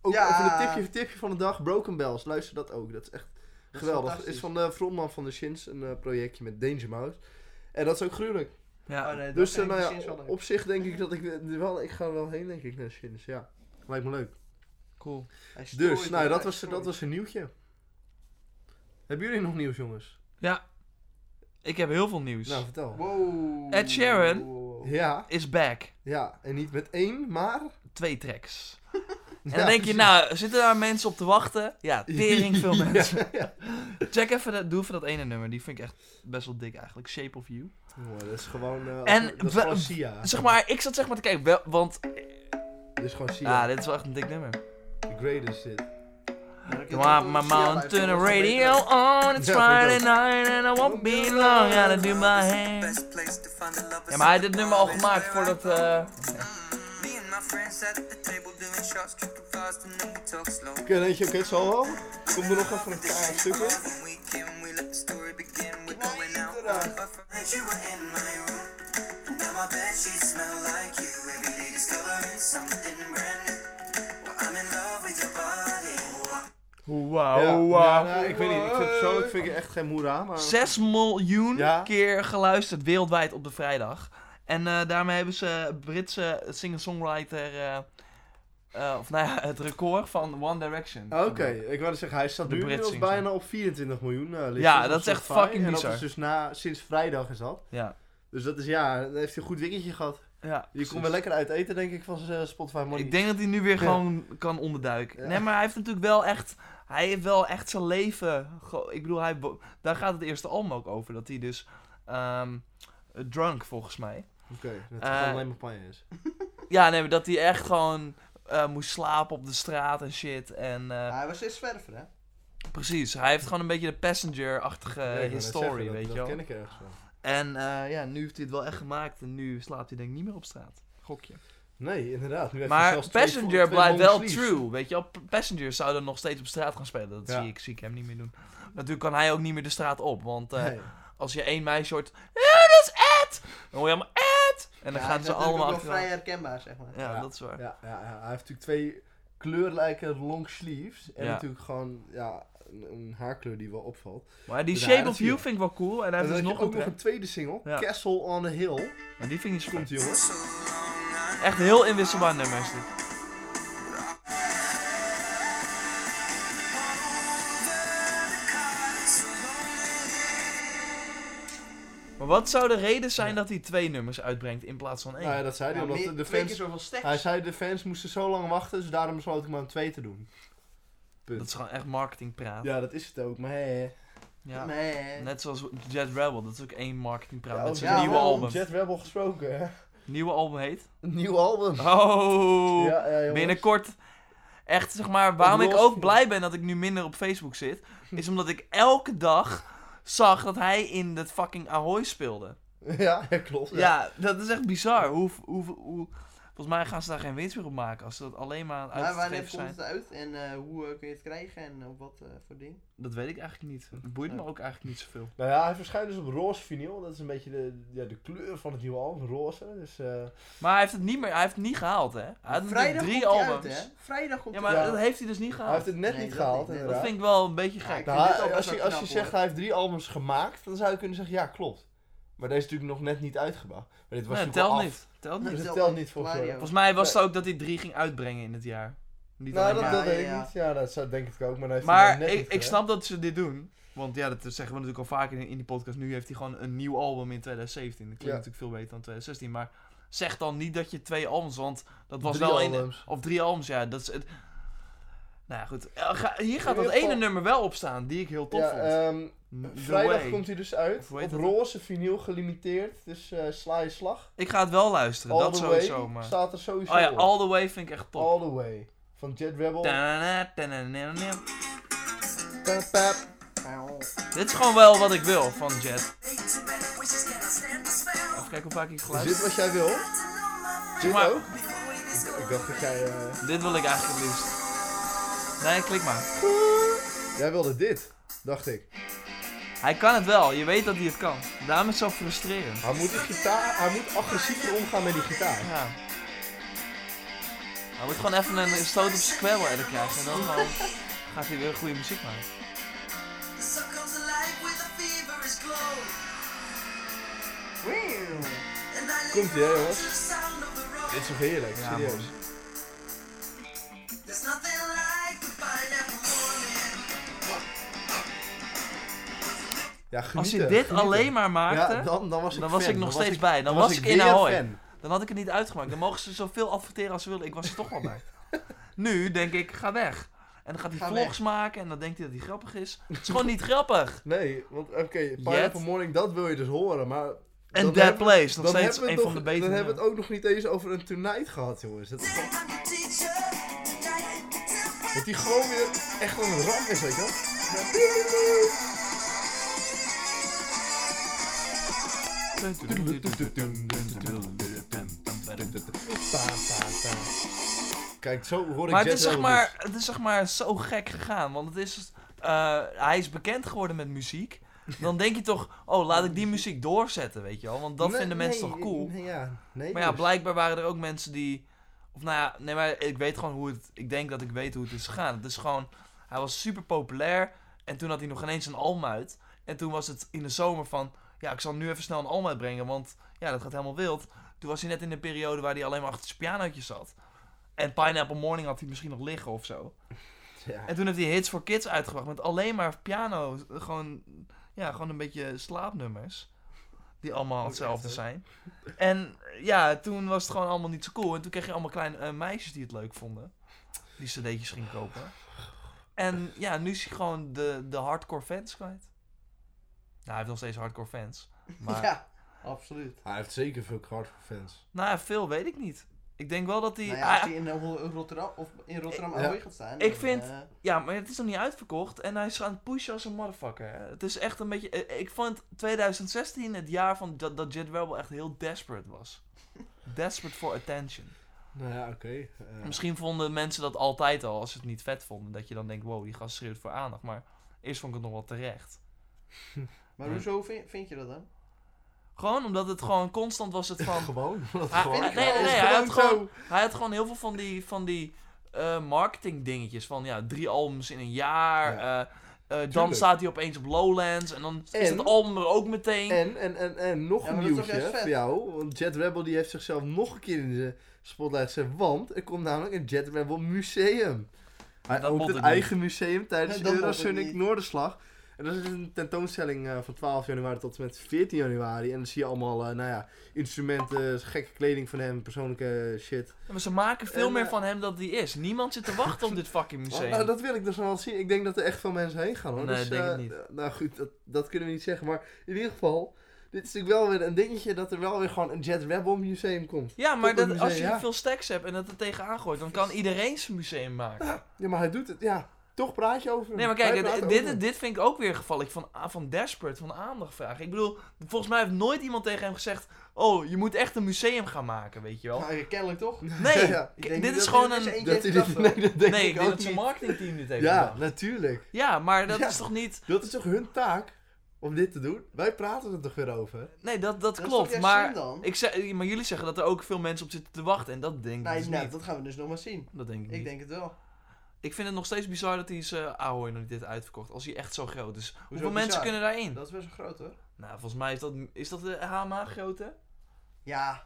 S3: Ook
S2: Ja.
S3: even een tipje, tipje van de dag, Broken Bells, luister dat ook, dat is echt
S2: is
S3: geweldig. is,
S2: fantastisch.
S3: van de frontman van de Shins, een eh, projectje met Danger Mouse. En dat is ook gruwelijk.
S1: Ja.
S2: Oh, nee, dat
S3: dus eh,
S2: vind ik
S3: nou
S2: misschien
S3: ja,
S2: wel
S3: op,
S2: leuk.
S3: zich denk ik dat ik eh, wel, ik ga er wel heen denk ik naar de Shins, ja. Lijkt me leuk.
S1: Cool.
S2: Hij is
S3: Dus,
S2: story,
S3: nou
S2: hoor,
S3: dat
S2: hij is
S3: was, dat
S2: story.
S3: was een nieuwtje. Hebben jullie nog nieuws jongens?
S1: Ja. Ik heb heel veel nieuws.
S3: Nou, vertel.
S2: Wow.
S1: Ed Sheeran.
S2: Wow, wow, wow.
S3: Ja,
S1: Is back.
S3: ja. En niet met één, maar...
S1: Twee tracks.
S3: [LAUGHS]
S1: En
S3: Ja,
S1: dan denk je,
S3: precies.
S1: nou, zitten daar mensen op te wachten? Ja, tering veel
S3: [LAUGHS] Ja,
S1: mensen.
S3: ja.
S1: Check even, dat, doe even dat ene nummer. Die vind ik echt best wel dik eigenlijk. Shape of You.
S3: Jongen, dat is gewoon... eh,
S1: En
S3: dat is
S1: we-
S3: gewoon Sia.
S1: Zeg maar, ik zat zeg maar te kijken, wel, want...
S3: Dit is gewoon
S1: Ja,
S3: Sia.
S1: dit is wel echt een dik nummer.
S3: The greatest dit.
S2: Maar ik heb
S1: My,
S2: ook
S1: my
S2: een Sia
S1: mom
S2: live,
S1: turn the
S2: dat was wel beter.
S1: radio on, it's
S3: Ja,
S1: Friday
S3: vind ik
S1: night and I won't be long, gotta do my hand. Ja, maar hij heeft dit nummer al gemaakt voordat... eh
S5: Me and my friends at the table doing shots, drinking fast and then we talk slow.
S3: Oké, dan denk je, oké, het zal wel. Kom er nog even een paar stukken.
S5: When we can, we let the story begin. We're going out
S3: Nice,
S5: on a buffer.
S4: Night you were in my room. Now my bed sheets smell like you. Every day discovering something brand new. Well, I'm in love with your body.
S3: Ja,
S1: Wauw,
S3: ja,
S1: Oh, wauw.
S3: nou, ik weet niet. Ik vind persoonlijk vind ik echt geen moera, maar...
S1: 6 miljoen
S3: Ja.
S1: keer geluisterd wereldwijd op de vrijdag. En eh, daarmee hebben ze Britse singer-songwriter, eh, eh, of nou ja, het record van One Direction.
S3: Oké,
S1: gebroken.
S3: ik wou net zeggen, hij staat
S1: De
S3: nu
S1: Brits
S3: inmiddels
S1: zingt ze.
S3: bijna op 24 miljoen. eh, listens
S1: Ja,
S3: op
S1: dat is echt
S3: Spotify.
S1: fucking
S3: En dat
S1: bizar.
S3: is dus na, sinds vrijdag is dat.
S1: Ja.
S3: Dus dat is ja, dan heeft hij een goed weekendje gehad.
S1: ja
S3: Je
S1: precies.
S3: komt wel lekker uit eten, denk ik, van zijn Spotify Money.
S1: Ik denk dat hij nu weer
S3: Ja.
S1: gewoon kan onderduiken.
S3: Ja.
S1: Nee, maar hij heeft natuurlijk wel echt. Hij heeft wel echt zijn leven. ge- Ik bedoel, hij, wo- daar gaat het eerste album ook over. Dat hij dus. ehm, drunk volgens mij.
S3: Oké, dat het
S1: Eh,
S3: gewoon alleen maar panje is.
S1: Ja, nee, maar dat hij echt gewoon. eh, moest slapen op de straat en shit. En eh,
S2: Ah, hij was een zwerver, hè?
S1: precies, hij heeft gewoon een beetje de passenger-achtige
S3: Ja, ik wou net zeggen,
S1: story,
S3: dat-
S1: weet je
S3: Dat
S1: wel.
S3: ken ik ergens wel.
S1: En eh, ja, nu heeft hij het wel echt gemaakt en nu slaapt hij denk ik niet meer op straat. Gokje.
S3: Nee, inderdaad. Nu heeft hij
S1: Maar
S3: zelfs twee vo-
S1: Passenger
S3: twee
S1: blijft
S3: long
S1: wel
S3: sleeves.
S1: true, weet je wel. P- Passenger zou dan nog steeds op straat gaan spelen. Dat
S3: Ja.
S1: zie, ik, zie ik hem niet meer doen. Natuurlijk kan hij ook niet meer de straat op. Want eh,
S3: Nee.
S1: als je één meisje hoort... "Eh, dat is Ed! Dan hoor je allemaal Ed! En dan
S2: Ja, hij
S1: gaan
S2: is
S1: ze
S2: natuurlijk
S1: allemaal
S2: ook wel vrij
S1: achter.
S2: herkenbaar, zeg maar.
S1: Ja,
S3: Ja.
S1: dat is waar.
S3: Ja, ja, ja, hij heeft natuurlijk twee kleurlijke long sleeves. En
S1: Ja.
S3: natuurlijk gewoon ja, een, een haarkleur die wel opvalt.
S1: Maar die
S3: Ja,
S1: Shape
S3: dat
S1: of
S3: zie
S1: You
S3: je.
S1: vind ik wel cool. En hij
S3: en
S1: heeft
S3: dan
S1: dus
S3: heb
S1: nog
S3: je ook
S1: een
S3: nog
S1: track.
S3: een tweede single,
S1: Ja.
S3: Castle on a Hill.
S1: Maar die vind ik niet zo
S3: Komt
S1: goed.
S3: die jongens.
S4: So long, I
S1: Echt heel inwisselbaar nummer is dit. Maar wat zou de reden zijn dat hij twee nummers uitbrengt in plaats van één?
S3: Nou ja, dat zei hij,
S2: Ja,
S3: omdat
S2: meer-
S3: de- de
S2: twee keer
S3: fans...
S2: zoveel steps.
S3: Hij zei de fans moesten zo lang wachten, dus daarom besloot ik maar een twee te doen.
S1: Dat is gewoon echt marketingpraat. Ja.
S3: Ja, dat is het ook, maar hè.
S2: Nee.
S1: Net zoals Jet Rebel, dat is ook één marketingpraat.
S3: Ja,
S1: met
S3: over
S1: zijn
S2: ja,
S1: nieuwe
S2: wel,
S1: album.
S3: Jet Rebel gesproken, hè?
S1: Nieuwe album heet?
S3: Een nieuw album.
S1: Oh!
S3: Ja, ja, jongens.
S1: Binnenkort, echt zeg maar, waarom ik
S3: los
S1: ook
S3: van.
S1: blij ben dat ik nu minder op Facebook zit, is omdat ik elke dag zag dat hij in dat fucking Ahoy speelde.
S3: [LAUGHS] Ja, ja, klopt.
S1: Ja, dat is echt bizar. Hoe, hoe, hoe, volgens mij gaan ze daar geen winst meer op maken als ze dat alleen maar aan het
S2: Maar
S1: uitgeven
S2: wanneer komt
S1: zijn.
S2: het uit en eh, hoe eh, kun je het krijgen en op wat eh, voor ding?
S1: Dat weet ik eigenlijk niet. Het boeit me ook eigenlijk niet zoveel.
S3: Nou ja, hij verschijnt dus op roze vinyl. Dat is een beetje de, ja, de kleur van het nieuwe album, roze. Dus, eh,
S1: Maar hij heeft het niet meer, hij heeft het niet gehaald hè. Hij had natuurlijk
S2: Vrijdag
S1: drie
S2: komt hij
S1: albums.
S2: uit, hè? Vrijdag komt
S1: ja,
S2: hij
S1: maar
S3: Ja.
S1: dat heeft hij dus niet
S3: hij heeft
S1: gehaald.
S3: het net
S2: Nee,
S3: niet
S2: dat
S3: gehaald,
S2: niet, nee.
S1: Dat
S3: inderdaad.
S1: vind ik wel een beetje gek.
S2: ik
S3: Nou,
S2: vind dit ook
S3: als,
S2: best
S3: je,
S2: wel
S3: als je
S2: knap,
S3: zegt
S2: hoor.
S3: hij heeft drie albums gemaakt, dan zou je kunnen zeggen, ja, klopt. Maar deze is natuurlijk nog net niet uitgebracht. Maar dit was
S1: Nee,
S3: natuurlijk
S1: telt
S3: al af.
S1: niet. Telt niet.
S3: Dus
S2: Dat
S3: het
S2: telt
S3: telt
S2: niet.
S3: niet volgens mij.
S2: eh, Mario.
S1: Volgens mij was het ook dat hij drie ging uitbrengen in het jaar. Niet
S3: Nou,
S1: alleen maar.
S3: dat, dat
S2: Ja,
S3: weet ik
S2: ja, ja.
S3: niet. Ja, dat zou, denk ik ook, maar dan heeft hij nog
S1: Maar
S3: net
S1: ik,
S3: niet eh.
S1: ik
S3: gedaan.
S1: snap dat ze dit doen. Want ja, dat zeggen we natuurlijk al vaker in, in die podcast. Nu heeft hij gewoon een nieuw album in 2017. Dat klinkt
S3: Ja.
S1: natuurlijk veel beter dan 2016. Maar zeg dan niet dat je twee albums, want dat was
S3: Drie
S1: wel één.
S3: albums.
S1: Of drie albums, ja. Dat is het. Nou ja, goed. Eh, ga- Hier gaat
S3: In
S1: dat
S3: ieder geval-
S1: ene nummer wel op staan, die ik heel tof
S3: Ja,
S1: vond.
S3: ehm,
S1: The
S3: vrijdag
S1: Way.
S3: komt hij dus uit.
S1: Of hoe heet
S3: Op
S1: dat?
S3: roze vinyl gelimiteerd. Dus eh sla je slag.
S1: Ik ga het wel luisteren,
S3: All
S1: Dus dat
S3: the
S1: sowieso.
S3: way
S1: Maar...
S3: staat er sowieso
S1: Oh ja,
S3: op.
S1: All The Way vind ik echt top.
S3: All the way. Van Jet Rebel.
S1: Ta-na-na, ta-na-na-na.
S3: Pap, pap.
S1: Dit is gewoon wel wat ik wil van Jet. Even kijken hoe vaak ik het
S3: Is
S1: geluisterd
S3: dit wat jij wil? Dit
S1: maar-
S3: ook? Ik dacht dat jij... eh,
S1: Dit wil ik eigenlijk het liefst. Nee, klik maar.
S3: Jij wilde dit, dacht ik.
S1: Hij kan het wel, je weet dat hij het kan. Daarom is het zo frustrerend.
S3: Hij moet, de gitaar, hij moet agressiever omgaan met die gitaar.
S1: Ja. Hij moet gewoon even een stoot op zijn kwebbel krijgen en dan gewoon gaat hij weer goede muziek maken.
S4: Komt ie, hè, jongens?
S3: Dit is toch heerlijk,
S1: Ja,
S3: serieus.
S1: man.
S4: There's nothing like the pineapple morning.
S3: Ja, genieten.
S1: Als je dit
S3: genieten.
S1: alleen maar maakte,
S3: Ja, dan, dan was ik
S1: dan was
S3: fan.
S1: ik nog
S3: Dan
S1: steeds bij. Dan was ik in
S3: weer
S1: Ahoy.
S3: fan.
S1: dan had ik het niet uitgemaakt. Dan mogen ze zoveel adverteren als ze willen, ik was er toch wel
S3: [LAUGHS]
S1: bij. Nu denk ik, ga weg. En dan gaat hij
S2: Ga
S1: vlogs maken en dan denkt hij dat hij grappig is. Het is gewoon niet grappig.
S3: Nee, want oké, Pineapple Morning, dat wil je dus horen, maar...
S1: En
S3: dan
S1: Dead
S3: hebben-
S1: Place, nog
S3: dan
S1: steeds
S3: hebben we
S1: een
S3: het
S1: van de
S3: nog-
S1: betere.
S3: Dan hebben we het ook nog niet eens over een tonight gehad, jongens. Dat,
S4: I'm your teacher. Guided me to
S3: dat die gewoon weer echt wel een ramp is, weet je wel? Pa, pa, pa. Kijk, zo hoor ik
S1: Maar het
S3: Jet
S1: is, zeg
S3: Rebel
S1: maar, het is zeg maar zo gek gegaan. Want het is, eh, hij is bekend geworden met muziek. Dan denk je toch, oh, laat ik die muziek doorzetten, weet je wel. Want dat
S3: Nee,
S1: vinden mensen
S3: nee,
S1: toch cool.
S3: Nee, ja, nee,
S1: Maar ja,
S3: dus.
S1: blijkbaar waren er ook mensen die... Of nou ja, nee, maar ik weet gewoon hoe het... Ik denk dat ik weet hoe het is gegaan. Het is gewoon... Hij was super populair. En toen had hij nog ineens een album uit. En toen was het in de zomer van... ja, ik zal nu even snel een album uitbrengen, want ja, dat gaat helemaal wild. Toen was hij net in de periode waar hij alleen maar achter zijn pianootje zat. En Pineapple Morning had hij misschien nog liggen of zo.
S3: Ja.
S1: En toen heeft hij Hits for Kids uitgebracht met alleen maar piano. Gewoon, ja, gewoon een beetje slaapnummers. Die allemaal
S2: Ook
S1: hetzelfde
S2: echt, hè?
S1: zijn. En ja, toen was het gewoon allemaal niet zo cool. En toen kreeg je allemaal kleine eh, meisjes die het leuk vonden. Die cd'tjes gingen kopen. En ja, nu is hij gewoon de, de hardcore fans kwijt. Nou, hij heeft nog steeds hardcore fans. Maar
S2: Ja, absoluut.
S3: Hij heeft zeker veel hardcore fans.
S1: nou ja, veel weet ik niet. Ik denk wel dat hij...
S2: nou ja, als
S1: hij-
S2: hij in eh, Ho- Rotterdam, of in Rotterdam
S3: Ik-
S2: Ahoy
S3: ja.
S2: gaat staan.
S1: Ah. Ik
S2: dan,
S1: vind-
S2: eh,
S1: Ja, maar het is nog niet uitverkocht en hij is aan het pushen als een motherfucker. hè. Het is echt een beetje... eh, Ik vond 2016 het jaar van dat, dat Jet Rebel echt heel desperate was. Desperate for attention.
S3: Nou ja, oké. eh,
S1: Misschien vonden mensen dat altijd al, als ze het niet vet vonden. Dat je dan denkt, wow, die gast schreeuwt voor aandacht. Maar eerst vond ik het nog wel terecht.
S2: maar
S1: Nee.
S2: hoezo vind, vind je dat dan?
S1: Gewoon omdat het gewoon constant was het van...
S3: gewoon. [LAUGHS] Dat
S1: Ah,
S3: gewoon.
S1: nee, nee,
S3: Het is
S1: nee, hij had
S3: gewoon
S1: gewoon, hij had gewoon heel veel van die, van die eh, marketing dingetjes. Van ja, drie albums in een jaar. eh, eh, dan
S3: Tuurlijk.
S1: staat hij opeens op Lowlands. En dan is
S3: En-
S1: het album er ook meteen.
S3: En, en, en, en nog
S2: Ja,
S3: een
S2: maar dat is toch
S3: nieuwtje
S2: juist vet?
S3: voor jou. Want Jet Rebel die heeft zichzelf nog een keer in de spotlight gezet. Want er komt namelijk een Jet Rebel museum. Hij
S1: Dat moet het
S3: opent een
S1: niet.
S3: eigen museum tijdens
S2: Nee,
S3: de
S2: [LAUGHS] dat moet het
S3: Eurosonic
S2: niet.
S3: Noorderslag. En dat is een tentoonstelling eh, van 12 januari tot en met 14 januari. En dan zie je allemaal eh, nou ja, instrumenten, gekke kleding van hem, persoonlijke shit.
S1: Ja, maar ze maken veel
S3: En,
S1: meer
S3: eh,
S1: van hem dan hij is. Niemand zit te wachten op dit fucking museum.
S3: Nou, dat wil ik dus nog wel zien. Ik denk dat er echt veel mensen heen gaan hoor.
S1: Nee,
S3: dus,
S1: denk
S3: eh,
S1: ik niet.
S3: Nou goed, dat, dat kunnen we niet zeggen. Maar in ieder geval, dit is natuurlijk wel weer een dingetje dat er wel weer gewoon een Jet Rebel museum komt.
S1: ja, maar
S3: tot een
S1: dat, als je
S3: museum, ja.
S1: veel stacks hebt en dat er tegenaan gooit, dan kan iedereen zijn museum maken.
S3: Ja, maar hij doet het. Ja, toch praat je over hem.
S1: Nee, maar
S3: Wij
S1: kijk,
S3: praten
S1: dit,
S3: over
S1: dit,
S3: hem.
S1: dit vind ik ook weer een geval van, ah, van desperate, van aandacht vragen. Ik bedoel, volgens mij heeft nooit iemand tegen hem gezegd, oh, je moet echt een museum gaan maken, weet je wel.
S2: Nou, kennelijk
S1: [LAUGHS]
S2: toch? [LAUGHS]
S1: Nee,
S3: Ja,
S2: Ik
S1: k-
S2: denk
S1: dit
S2: niet
S1: is
S2: dat
S1: gewoon
S2: er eens
S1: een...
S2: één-
S3: Dat hij dit,
S2: Nee,
S3: nee, dat denk
S1: Nee, ik
S3: ik
S1: denk
S3: ook
S1: dat zijn
S3: niet.
S1: marketingteam dit heeft
S3: Ja,
S1: gedaan.
S3: natuurlijk.
S1: Ja, maar dat
S3: Ja.
S1: is toch niet...
S3: Dat is toch hun taak om dit te doen? Wij praten er toch weer over?
S1: Nee, dat, dat,
S2: Dat is toch
S1: klopt,
S2: juist
S1: maar...
S2: slim dan?
S1: Ik zeg, maar jullie zeggen dat er ook veel mensen op zitten te wachten en dat denk ik
S2: Nee,
S1: dus
S2: nou,
S1: niet.
S2: dat gaan we dus nog maar zien.
S1: Dat denk ik niet.
S2: Ik denk het wel.
S1: Ik vind het nog steeds bizar dat hij zijn Ahoy nog niet heeft uitverkocht. Als hij echt zo groot is. Hoeveel mensen
S2: bizar?
S1: kunnen daarin?
S2: Dat is best wel groot hoor.
S1: Nou, volgens mij is dat, is dat de HMA grootte?
S2: Ja,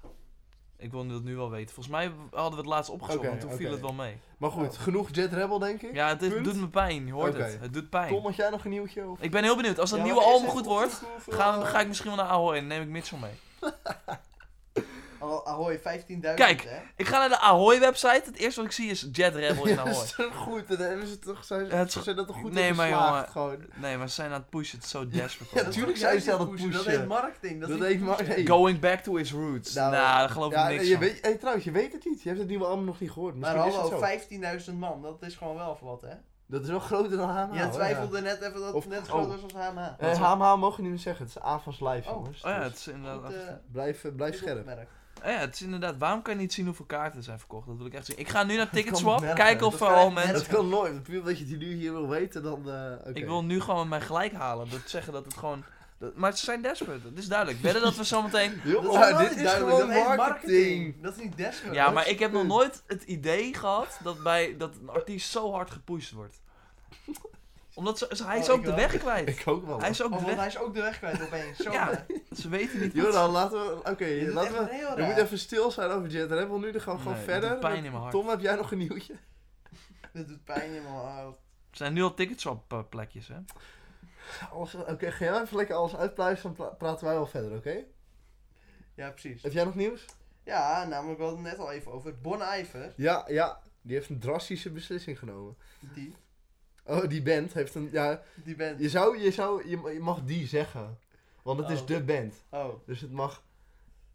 S1: Ik wil dat nu wel weten. Volgens mij hadden we het laatst opgezocht,
S3: Oké,
S1: en toen viel
S3: oké.
S1: het wel mee.
S3: Maar goed, genoeg Jet Rebel, denk ik.
S1: Ja, het is-
S3: Punt.
S1: doet me pijn. Je hoort
S3: Oké.
S1: het. Het doet pijn.
S3: Tom, had jij nog een nieuwtje? Of?
S1: Ik ben heel benieuwd. Als dat
S2: Ja,
S1: nieuwe
S2: maar is
S1: album
S2: het-
S1: goed wordt, ga, ga ik misschien wel naar Ahoy en neem ik Mitchell mee.
S2: al Ahoy 15.000
S1: Kijk.
S2: hè?
S1: Ik ga naar de Ahoy website. Het eerste wat ik zie is Jet Rebel in
S3: Ja, dat
S1: Ahoy.
S3: [LAUGHS] is toch goed. Dat hebben ze toch, zijn,
S1: Ja, nou, het is-
S3: ze zijn dat toch goed
S1: Nee,
S3: nee,
S1: maar
S3: maar, geslaagd,
S1: jongen.
S3: gewoon.
S1: Nee, maar ze zijn aan het pushen. Het is zo desperate.
S3: Ja,
S1: allemaal.
S3: tuurlijk
S2: Jij
S3: zijn ze
S2: zegt
S3: aan het pushen.
S2: Dat heet marketing. Dat,
S3: Dat
S2: is
S3: heet
S2: pushen.
S3: marketing.
S1: Going back to his roots. Nou,
S3: Nou,
S1: daar geloof ik
S3: Ja,
S1: niks
S3: je
S1: van.
S3: weet, hey, trouwens, je weet het niet. Je hebt het nieuwe album nog niet gehoord.
S2: Maar
S3: Misschien is het
S2: hallo,
S3: zo.
S2: 15.000 man, dat is gewoon wel voor wat, hè?
S3: Dat is wel groter dan HMH.
S2: Jij
S3: hoor.
S2: twijfelde net even dat
S3: Of-
S2: het net zo groot
S3: oh.
S2: was als HMH.
S3: Eh, HMH mogen niet meer zeggen. Het is avonds live,
S2: Oh.
S3: jongens.
S1: Oh ja,
S3: Dus
S1: het is inderdaad...
S2: Goed, eh,
S3: blijf, eh, blijf
S2: goed
S3: scherp.
S2: opgemerkt.
S1: Ah ja, het is inderdaad. Waarom kan je niet zien hoeveel kaarten er zijn verkocht? Dat wil ik echt zien. Ik ga
S3: [LAUGHS]
S1: nu naar Ticketswap,
S3: kan ik merken.
S1: kijken of er
S2: Dat
S1: al
S2: kan ik
S1: mensen.
S3: Dat kan nooit. want Puur omdat je die nu hier wil weten, dan... eh oké.
S1: Ik wil nu gewoon mijn gelijk halen. Dat zeggen dat het gewoon. dat- maar ze zijn desperate, dat is duidelijk. Wedden dat we
S3: [LAUGHS]
S1: zometeen.
S3: Jongen,
S2: Dat
S3: dit is duidelijk.
S2: gewoon
S3: Dat
S2: heet
S3: marketing.
S2: marketing. Dat is niet desperate.
S1: Ja,
S3: dat
S1: maar
S3: is
S1: ik heb
S3: het
S1: nog
S3: punt.
S1: nooit het idee gehad dat, bij, dat een artiest zo hard gepusht
S3: [LAUGHS]
S1: wordt. Omdat ze, ze- hij is
S2: Oh,
S1: ook
S2: ik
S1: de
S2: wel.
S1: weg kwijt.
S3: Ik ook wel.
S1: Hij is ook
S2: Oh,
S1: de
S2: want
S1: weg.
S2: hij is ook de weg kwijt opeens. Zo,
S1: Ja.
S2: hè?
S1: Ze weten niet. wat-
S3: Jordan, laten we... Oké,
S2: Dit is
S3: laten
S2: echt
S3: we...
S2: heel
S3: We
S2: raar.
S3: moeten even stil zijn over Jet Rebel nu, dan gaan we gewoon
S1: Nee, dat
S3: verder.
S1: doet pijn in mijn hart.
S3: Tom, heb jij nog een nieuwtje?
S2: Dit doet pijn in mijn hart.
S1: Er zijn nu al Ticketswap eh, plekjes, hè?
S3: Alles- Oké, ga jij even lekker alles uitpluizen, dan pra- praten wij wel verder, oké?
S2: Ja, precies.
S3: Heb jij nog nieuws?
S2: Ja, namelijk we hadden het net al even over Bon Iver.
S3: Ja, ja. Die heeft een drastische beslissing genomen.
S2: Die,
S3: Oh, die band heeft een... Ja,
S2: die band.
S3: je zou... Je, zou, je, ma- je mag die zeggen. Want het is
S2: Oh.
S3: de band.
S2: Oh,
S3: Dus het mag...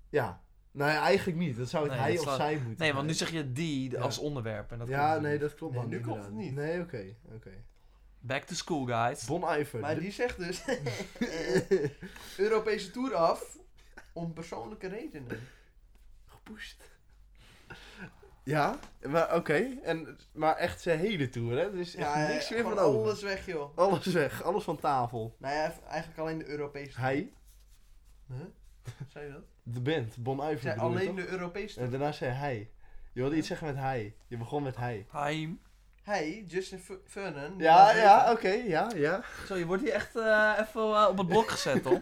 S3: Ja. Nou ja, eigenlijk niet. Dat zou het
S1: Nee,
S3: hij
S1: dat
S3: of
S1: slaat-
S3: zij moeten
S1: Nee, want nu
S3: zijn.
S1: zeg je die
S3: Ja.
S1: als onderwerp. En dat
S3: ja,
S1: klopt
S3: nee,
S1: niet.
S3: dat klopt
S2: Nee,
S3: dan
S2: nu klopt
S3: inderdaad.
S2: het niet.
S3: Nee, oké, oké.
S1: Back to school, guys.
S3: Bon Iver.
S2: maar
S3: de-
S2: die zegt
S3: [LAUGHS]
S2: dus Europese tour af om persoonlijke redenen.
S3: Gepusht. [LAUGHS] Ja, maar oké. En- Maar echt zijn hele tour, hè? Er is echt
S2: Ja,
S3: niks
S2: eh,
S3: meer van
S2: gewoon
S3: over.
S2: alles weg, joh.
S3: Alles weg, alles van tafel.
S2: Nou ja, eigenlijk alleen de Europese tour.
S3: Hij,
S2: Huh? Zei je dat?
S3: de band, Bon Iver.
S2: Zei
S3: bedoel je
S2: alleen
S3: toch?
S2: de Europese tour.
S3: En Eh, daarna zei hij. Je wilde iets zeggen met hij. Je begon met hij.
S1: Haim.
S2: Hij, Justin F- Vernon. die
S3: Ja,
S2: was
S3: ja,
S2: even-
S3: oké, ja, ja. [LAUGHS]
S1: Zo, je wordt hier echt eh, even eh, op het blok gezet, hoor.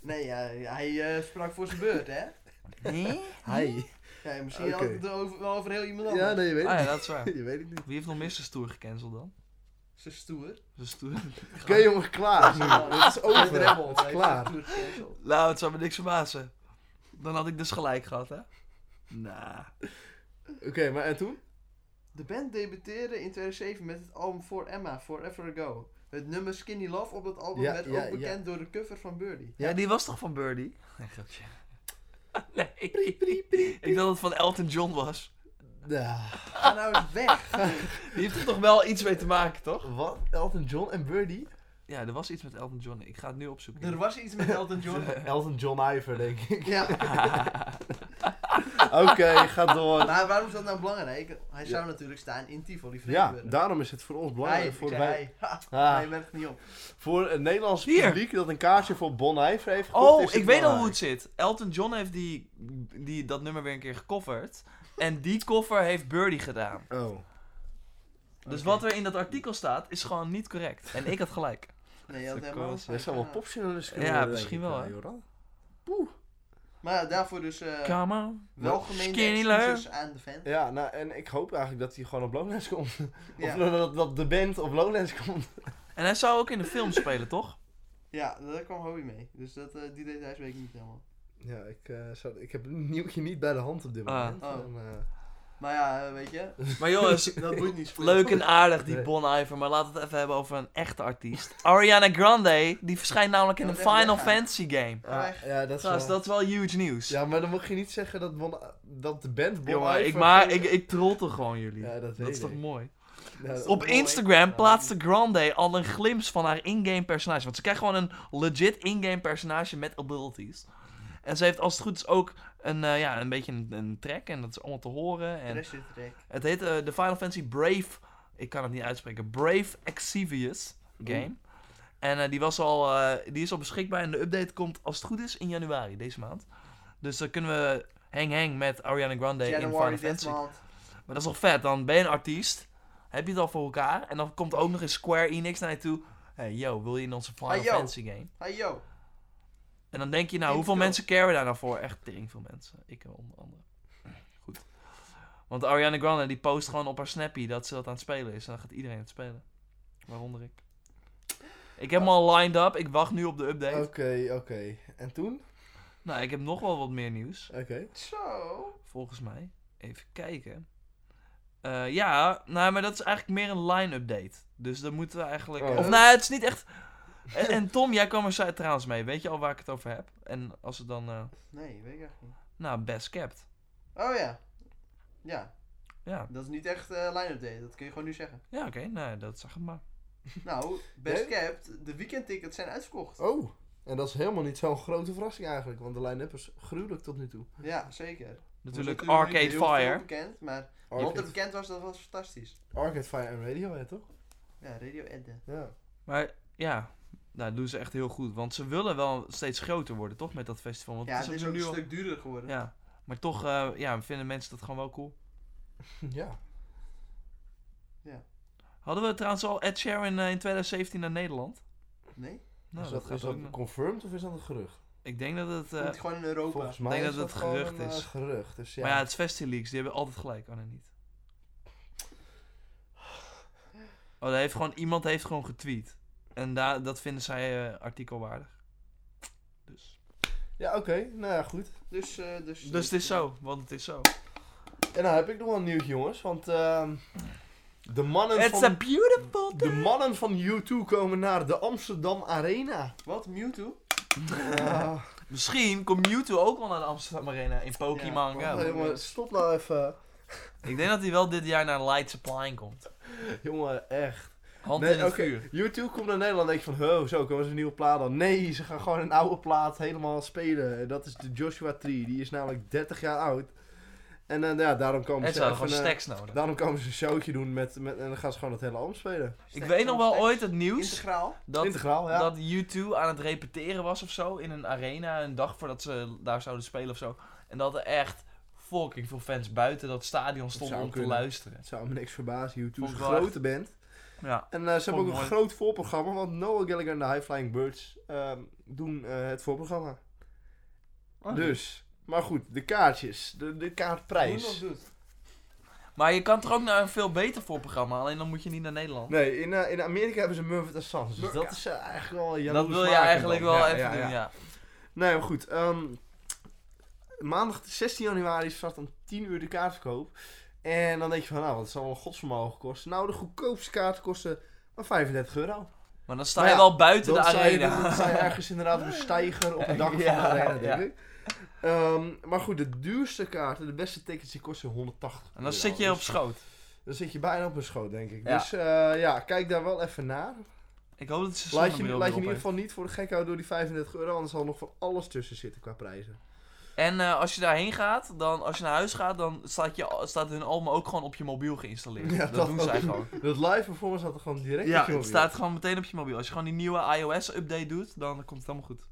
S2: Nee, ja, hij eh, sprak voor zijn beurt, hè?
S3: Hij.
S2: Ja, misschien had
S3: Oké.
S2: het over, wel over heel iemand anders.
S3: Ja, nee, je weet
S1: Ah
S3: het
S1: ja,
S3: niet.
S1: dat is waar.
S3: [LAUGHS] Je weet het niet.
S1: Wie heeft nog Mr. Tour gecanceld dan?
S2: Ze stoer.
S1: Mr. Stoer? [LAUGHS]
S3: Oké jongen, [LAUGHS] klaar. nu. Het is
S2: Fred
S3: over.
S2: Rebel,
S3: Het is
S2: hij
S3: klaar.
S2: heeft zijn tour gecanceld.
S1: Nou, het zou me niks verbazen. Dan had ik dus gelijk gehad, hè? Nou.
S3: Oké, maar en toen?
S2: De band debuteerde in 2007 met het album For Emma, Forever Ago. Het nummer Skinny Love op dat album
S3: Ja,
S2: werd
S3: ja,
S2: ook
S3: ja.
S2: bekend door de cover van Birdie.
S1: Ja, die was toch van Birdie? [LAUGHS] Nee,
S3: [LAUGHS]
S1: grapje. [LAUGHS] Nee. Ik dacht dat het van Elton John was.
S3: Ja.
S2: Ga nou eens weg!
S1: Die heeft er toch wel iets mee te maken, toch?
S3: Wat? Elton John en [LAUGHS] Birdie?
S1: Ja, er was iets met Elton John. Ik ga het nu opzoeken.
S2: Er was iets met Elton John.
S3: Elton John Iver, denk ik.
S2: Ja,
S3: Oké, [LAUGHS] ga door.
S2: maar waarom is dat nou belangrijk? Hij zou natuurlijk staan in Tivoli.
S3: Ja,
S2: Vredenburg.
S3: daarom is het voor ons belangrijk.
S2: Hij,
S3: voor,
S2: ik zei
S3: wij-
S2: hij. Ha,
S3: Ah.
S2: Hij merkt niet op.
S3: voor het Nederlands
S1: Hier.
S3: publiek dat een kaartje voor Bon Iver heeft gekocht.
S1: Oh,
S3: is het
S1: ik weet al hoe
S3: belangrijk.
S1: het zit. Elton John heeft die, die, dat nummer weer een keer gecoverd. En die cover heeft Birdie gedaan.
S3: Oh.
S1: Dus wat er in dat artikel staat, is gewoon niet correct. En ik had gelijk.
S2: Nee, je had
S1: Dat is
S2: helemaal
S1: ook
S2: niet
S3: Jij zou wel popjournalist kunnen
S1: Ja,
S3: worden,
S1: misschien
S3: denk ik,
S1: wel,
S3: eh,
S1: hè.
S3: Joran.
S2: Maar ja, daarvoor dus eh
S1: Come on.
S2: welgemeende
S1: Skinny Love.
S2: excuses aan de fan.
S3: Ja, nou, en ik hoop eigenlijk dat hij gewoon op Lowlands komt. [LAUGHS]
S2: Ja.
S3: Of dat, dat de band op Lowlands komt.
S1: En hij zou ook in de film spelen, toch?
S2: Ja, daar kwam Hobby mee. Dus dat, eh, die deed hij deze week niet helemaal.
S3: Ja, ik, eh, zou, ik heb een nieuwtje niet bij de hand op dit
S1: Ah.
S3: moment.
S2: Oh.
S3: En, eh,
S2: Maar ja, eh, weet je,
S1: Maar
S3: [LAUGHS]
S1: jongens,
S2: dat
S1: [LAUGHS]
S2: moet niet spelen.
S1: leuk en aardig die
S3: Nee.
S1: Bon Iver. Maar laten we het even hebben over een echte artiest. Ariana Grande, die verschijnt namelijk in
S2: Ja,
S1: een
S2: dat even
S1: Final
S2: weggaan.
S1: Fantasy game.
S2: Ga weg.
S3: ah, ja, dat is
S1: Gast,
S3: wel-
S1: dat is wel huge nieuws.
S3: Ja, maar dan mag je niet zeggen dat, Bon- dat de band Bon
S1: Jongen,
S3: Iver...
S1: ik, maar, ik, ik trotte gewoon jullie.
S3: Ja, dat
S1: dat
S3: weet
S1: is toch
S3: ik.
S1: mooi?
S3: Ja, dat-
S1: Op
S2: mooi.
S1: Instagram plaatste Grande al een glimps van haar in-game personage. Want ze krijgt gewoon een legit in-game personage met abilities. En ze heeft als het goed is ook een, eh, ja, een beetje een, een track. En dat is allemaal te horen. En
S2: Rest zit trek.
S1: Het heet eh, de Final Fantasy Brave. Ik kan het niet uitspreken. Brave Exvius game. En eh, die, was al, eh, die is al beschikbaar. En de update komt als het goed is in januari deze maand. Dus dan kunnen we hang hang met Ariana Grande in Final
S2: January dit
S1: Fantasy.
S2: maand.
S1: Maar dat is toch vet? Dan ben je een artiest. Heb je het al voor elkaar. En dan komt ook nog eens Square Enix naar je toe. Hey yo, wil je in onze Final
S2: Hey, yo.
S1: Fantasy game?
S2: Hey yo.
S1: En dan denk je, nou,
S2: Ik
S1: hoeveel
S2: wil.
S1: mensen caren daar nou voor? Echt tering veel mensen. Ik onder andere. Goed. Want Ariana Grande, die post gewoon op haar Snappy dat ze dat aan het spelen is. En dan gaat iedereen het spelen. Waaronder ik. Ik heb hem al lined up. Ik wacht nu op de update.
S2: Oh.
S3: Oké, oké. En toen?
S1: Nou, ik heb nog wel wat meer nieuws.
S3: Oké.
S2: Zo.
S1: Volgens mij. Even kijken. Eh, ja, nou, maar dat is eigenlijk meer een line-update. Dus dan moeten we eigenlijk...
S3: Oh, ja.
S1: Of nou, het is niet echt... En, en Tom, jij kwam er zo- trouwens mee. Weet je al waar ik het over heb? En als het dan... eh,
S2: Nee, weet ik echt niet.
S1: nou, best kept.
S2: Oh ja. Ja,
S1: Ja.
S2: dat is niet echt eh line-update. Dat kun je gewoon nu zeggen.
S1: Ja, oké, nou, dat zag ik maar.
S2: Nou, best
S3: Nee?
S2: kept, de weekendtickets zijn uitverkocht.
S3: Oh, en dat is helemaal niet zo'n grote verrassing eigenlijk, want de line-up is gruwelijk tot nu toe.
S2: Ja, zeker.
S1: Natuurlijk
S2: Was
S1: Arcade
S2: niet heel veel
S1: Fire.
S2: bekend, maar wat er
S3: Arcade,
S2: bekend was, dat was fantastisch.
S3: Arcade Fire en Radiohead, toch?
S2: Ja, Radio Edde.
S1: [LAUGHS]
S3: Ja.
S1: Maar ja, nou, doen ze echt heel goed. Want ze willen wel steeds groter worden, toch, met dat festival? Want
S2: Ja, het is ook een
S1: nu al-
S2: stuk duurder geworden.
S1: Ja, maar toch eh, ja, vinden mensen dat gewoon wel cool.
S3: ja.
S1: Hadden we trouwens al Ed Sheeran eh, in 2017 naar Nederland?
S2: Nee?
S1: Nou,
S3: is
S1: dat,
S3: dat,
S1: gaat
S3: is dat
S1: ook nog.
S3: confirmed of is dat een gerucht?
S1: Ik denk dat het... eh,
S2: Komt gewoon in Europa.
S3: Volgens mij
S1: denk
S3: is
S1: dat het
S3: gewoon
S1: gerucht
S3: een, eh,
S1: is.
S3: gerucht, dus ja.
S1: Maar ja, het is Festileaks, die hebben altijd gelijk. Oh, nee, niet. Oh, daar heeft gewoon, iemand heeft gewoon getweet. En daar dat vinden zij eh, artikelwaardig. Dus...
S3: Ja, oké. Nou ja, goed.
S2: Dus, eh, dus,
S1: Dus het is zo, want het is zo.
S3: En dan heb ik nog wel een nieuwtje, jongens, want ehm, de mannen
S1: It's a
S3: van...
S1: beautiful
S3: De mannen van U2 komen naar de Amsterdam
S2: [LAUGHS]
S3: Arena.
S2: eh, Wat? Mewtwo?
S3: Ah,
S1: Misschien komt Mewtwo ook wel naar de Amsterdam Arena in Pokémon
S2: Ja,
S1: Go.
S2: maar-
S3: jongen, stop nou even.
S1: Ik denk dat hij wel dit jaar naar Light Supply komt.
S3: Jongen, echt.
S1: Hand
S3: Nee,
S1: in het
S3: oké.
S1: vuur.
S3: YouTube komt naar Nederland en denk je van, oh, zo, komen ze een nieuwe plaat dan? Nee, ze gaan gewoon een oude plaat helemaal spelen. En dat is de Joshua Tree, die is namelijk 30 jaar oud. En eh, ja, daarom komen
S1: En ze
S3: ze
S1: hadden
S3: even,
S1: gewoon
S3: eh,
S1: stacks nodig.
S3: Daarom komen ze een showtje doen met, met, en dan gaan ze gewoon het hele album spelen.
S1: Ik weet nog wel ooit het nieuws
S2: Integraal.
S1: dat, eh,
S3: Integraal, ja.
S1: dat U2 aan het repeteren was of zo in een arena een dag voordat ze daar zouden spelen of zo. En dat er echt fucking veel fans buiten dat stadion stonden
S3: zou
S1: om te
S3: kunnen.
S1: luisteren.
S3: Het zou me niks verbazen, YouTube is
S1: Vond
S3: een
S1: ik wel
S3: grote band.
S1: Ja.
S3: En eh, ze hebben ook
S1: mooi.
S3: een groot voorprogramma, want Noah Gallagher en de High Flying Birds ehm, doen eh, het voorprogramma.
S1: Ah.
S3: Dus, maar goed, de kaartjes, de, de kaartprijs.
S2: Doet.
S1: Maar je kan toch ook naar een veel beter voorprogramma, alleen dan moet je niet naar Nederland.
S3: Nee, in, eh, in Amerika hebben ze Murphy Assange, dus
S1: Murka.
S3: dat is eh, eigenlijk wel
S1: dat
S3: jaloers
S1: wil je
S3: maken
S1: eigenlijk
S3: dan.
S1: wel
S3: Ja,
S1: even
S3: ja,
S1: doen, ja.
S3: ja. Nee, maar goed. ehm, maandag 16 januari start om 10 uur de kaartverkoop. En dan denk je van, nou, wat zal wel een godsvermogen kosten? Nou, de goedkoopste kaarten kosten maar 35 euro.
S1: Maar dan sta
S3: Maar
S1: je
S3: ja,
S1: wel buiten de
S3: Dan sta je,
S1: arena.
S3: dan sta je ergens inderdaad op een steiger op het dak van de
S1: Ja,
S3: arena, denk
S1: ja.
S3: ik. Ehm, maar goed, de duurste kaarten, de beste tickets, die kosten 180
S1: [LAUGHS] En dan
S3: euro.
S1: zit je op
S3: Dus
S1: schoot.
S3: Dan zit je bijna op een schoot, denk ik.
S1: Ja.
S3: Dus eh, ja, kijk daar wel even naar.
S1: Ik hoop dat ze
S3: Laat je,
S1: zonnebril
S3: laat je in
S1: erop
S3: ieder
S1: heeft.
S3: geval niet voor de gek houden door die 35 euro, anders zal er nog van alles tussen zitten qua prijzen.
S1: En eh, als je daarheen gaat, dan, als je naar huis gaat, dan staat, je, staat hun album ook gewoon op je mobiel geïnstalleerd.
S3: [LAUGHS] Ja,
S1: dat,
S3: dat
S1: doen
S3: ook.
S1: zij gewoon.
S3: [LAUGHS] Dat live performance had er gewoon direct
S1: Ja,
S3: op je
S1: het
S3: mobiel.
S1: staat gewoon meteen op je mobiel. Als je gewoon die nieuwe iOS-update doet, dan komt het allemaal goed.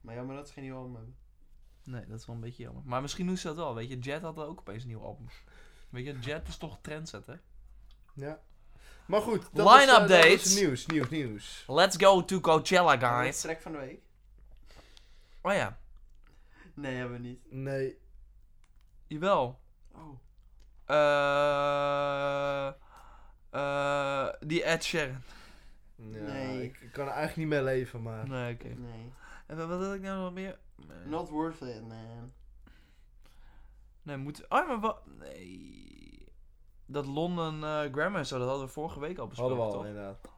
S2: Maar jammer dat ze geen nieuw album hebben.
S1: Nee, dat is wel een beetje jammer. Maar misschien doen ze dat wel, weet je. Jet had ook opeens een nieuw album. Weet je, Jet is toch trendsetter.
S3: Ja. Maar goed, dat
S1: Line-up
S3: was, eh, dat was
S1: dates.
S3: het nieuws, nieuws, nieuws.
S1: Let's go to Coachella,
S2: Nice.
S1: guys.
S2: Track van de week?
S1: Oh ja,
S2: Nee, hebben we niet.
S3: Nee.
S1: jawel.
S2: Oh.
S1: Eh eh die Ed Sheeran.
S3: Ja,
S2: Nee.
S3: Ik, ik kan er eigenlijk niet mee leven, maar...
S1: Nee, oké.
S2: Nee.
S1: En wat- wat had ik nou nog meer? Nee.
S2: Not worth it, man.
S1: Nee, moet. Oh, maar wat. Nee. Dat London eh Grammar en zo, dat hadden we vorige week al besproken.
S3: Hadden we al,
S1: toch?
S3: inderdaad.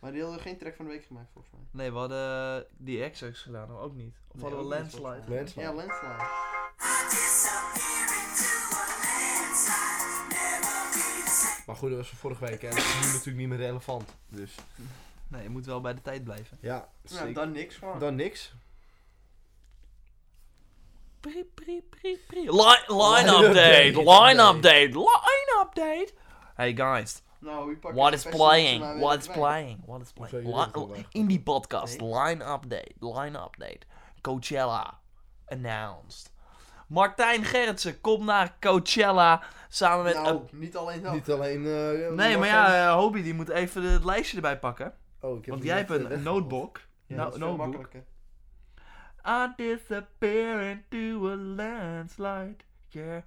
S2: Maar die hadden geen track van de week gemaakt, volgens mij.
S1: Nee, we hadden die XX gedaan, maar ook niet. Of
S2: Nee,
S1: hadden we
S2: ook niet, volgens
S1: Landslide?
S2: mij.
S3: Landslide.
S2: Ja, Landslide.
S3: Maar goed, dat was van vorige week en dat is nu natuurlijk niet meer relevant. Dus
S1: Nee, je moet wel bij de tijd blijven.
S3: ja,
S2: Nou,
S3: zeker.
S2: dan niks gewoon.
S3: dan niks.
S1: Pri, pri, pri, pri. Line, [LAUGHS] line
S2: [LAUGHS]
S3: Line
S1: update!
S3: update,
S1: Line
S3: update.
S1: update! Line update! Hey guys,
S2: Nou, wie pakt
S1: what
S2: de
S1: is
S2: beste
S1: playing?
S2: maar weer
S1: What is
S2: erbij?
S1: playing? What is
S3: Zo,
S1: playing?
S3: jullie hebben het al
S1: Li-
S3: weggehaald.
S1: Indie podcast,
S2: Nee.
S1: line update, line update. Coachella announced. Martijn Gerritsen komt naar Coachella samen met
S2: Nou, niet alleen dat.
S3: Niet alleen... eh,
S1: Nee, maar
S3: Martijn-
S1: ja, eh, Hobie die moet even het lijstje erbij pakken.
S3: Oh, ik heb
S1: Want
S3: hem
S1: jij
S3: net,
S1: hebt
S3: eh,
S1: een
S3: weg-
S1: notebook.
S2: Ja,
S1: no,
S2: dat is veel
S1: notebook.
S2: makkelijker.
S1: I disappear into a landslide. Yeah.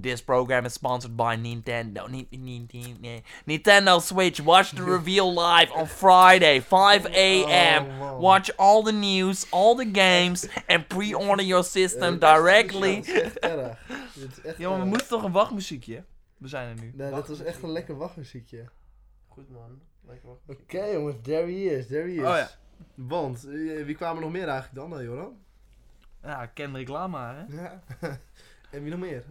S1: This program is sponsored by Nintendo. Ni- ni- ni- ni- Nintendo Switch. Watch the reveal live on Friday, 5
S3: Oh,
S1: a.m.
S3: wow.
S1: Watch all the news, all the games, en pre-order your system directly.
S3: Dat is echt erg. Dit is echt
S1: Ja, maar we
S3: erg.
S1: moeten toch een wachtmuziekje? We zijn er nu.
S3: Nee, dat was echt een lekker wachtmuziekje.
S2: Goed man. Lekker wacht.
S3: Oké jongens, there he is, there he is.
S1: Oh ja.
S3: Want, eh, wie kwamen er nog meer eigenlijk dan, eh, Joran?
S1: Ja, Kendrick Lama, hè?
S3: Ja. [LAUGHS] en wie nog meer?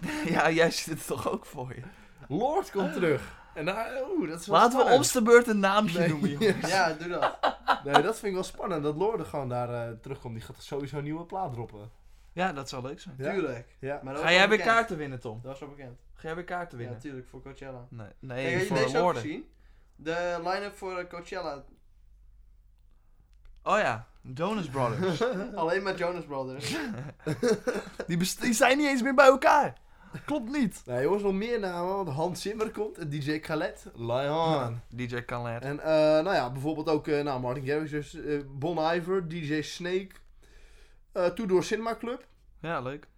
S1: [LAUGHS] Ja, jij zit het toch ook voor je?
S3: Lord komt terug. En daar, oeh, dat is wel
S1: Oh. Laten we
S3: spannend.
S1: ons de beurt een naamje
S3: Nee.
S1: noemen, [LAUGHS] joh.
S2: [LAUGHS] Ja, doe dat.
S3: Nee, dat vind ik wel spannend. Dat Lord er gewoon daar eh, terugkomt. Die gaat sowieso een nieuwe plaat droppen.
S1: Ja, dat zou leuk zijn.
S3: Ja.
S2: Tuurlijk.
S3: Ja.
S2: Maar dat
S1: Ga
S2: was
S1: jij
S2: al
S1: weer
S2: bekend.
S1: kaarten winnen, Tom?
S2: Dat was al bekend.
S1: Ga jij weer kaarten
S2: Ja,
S1: winnen?
S2: natuurlijk, voor Coachella.
S1: Nee,
S2: Hey, heb
S1: nee
S2: je
S1: voor
S2: deze ook
S1: woorden.
S2: gezien? De line-up voor eh, [LAUGHS] Coachella.
S1: Oh ja, Jonas Brothers.
S2: [LAUGHS] Alleen maar Jonas Brothers.
S1: die, best- die zijn niet eens meer bij elkaar. Klopt niet.
S3: Nou jongens, nog meer namen. Want Hans Zimmer komt. en DJ Khaled. Lion.
S1: DJ Khaled.
S3: En eh, nou ja, bijvoorbeeld ook eh, nou, Martin Garrix. Dus, eh, bon Iver. DJ Snake. eh Toedoor Cinema Club.
S1: Ja, leuk.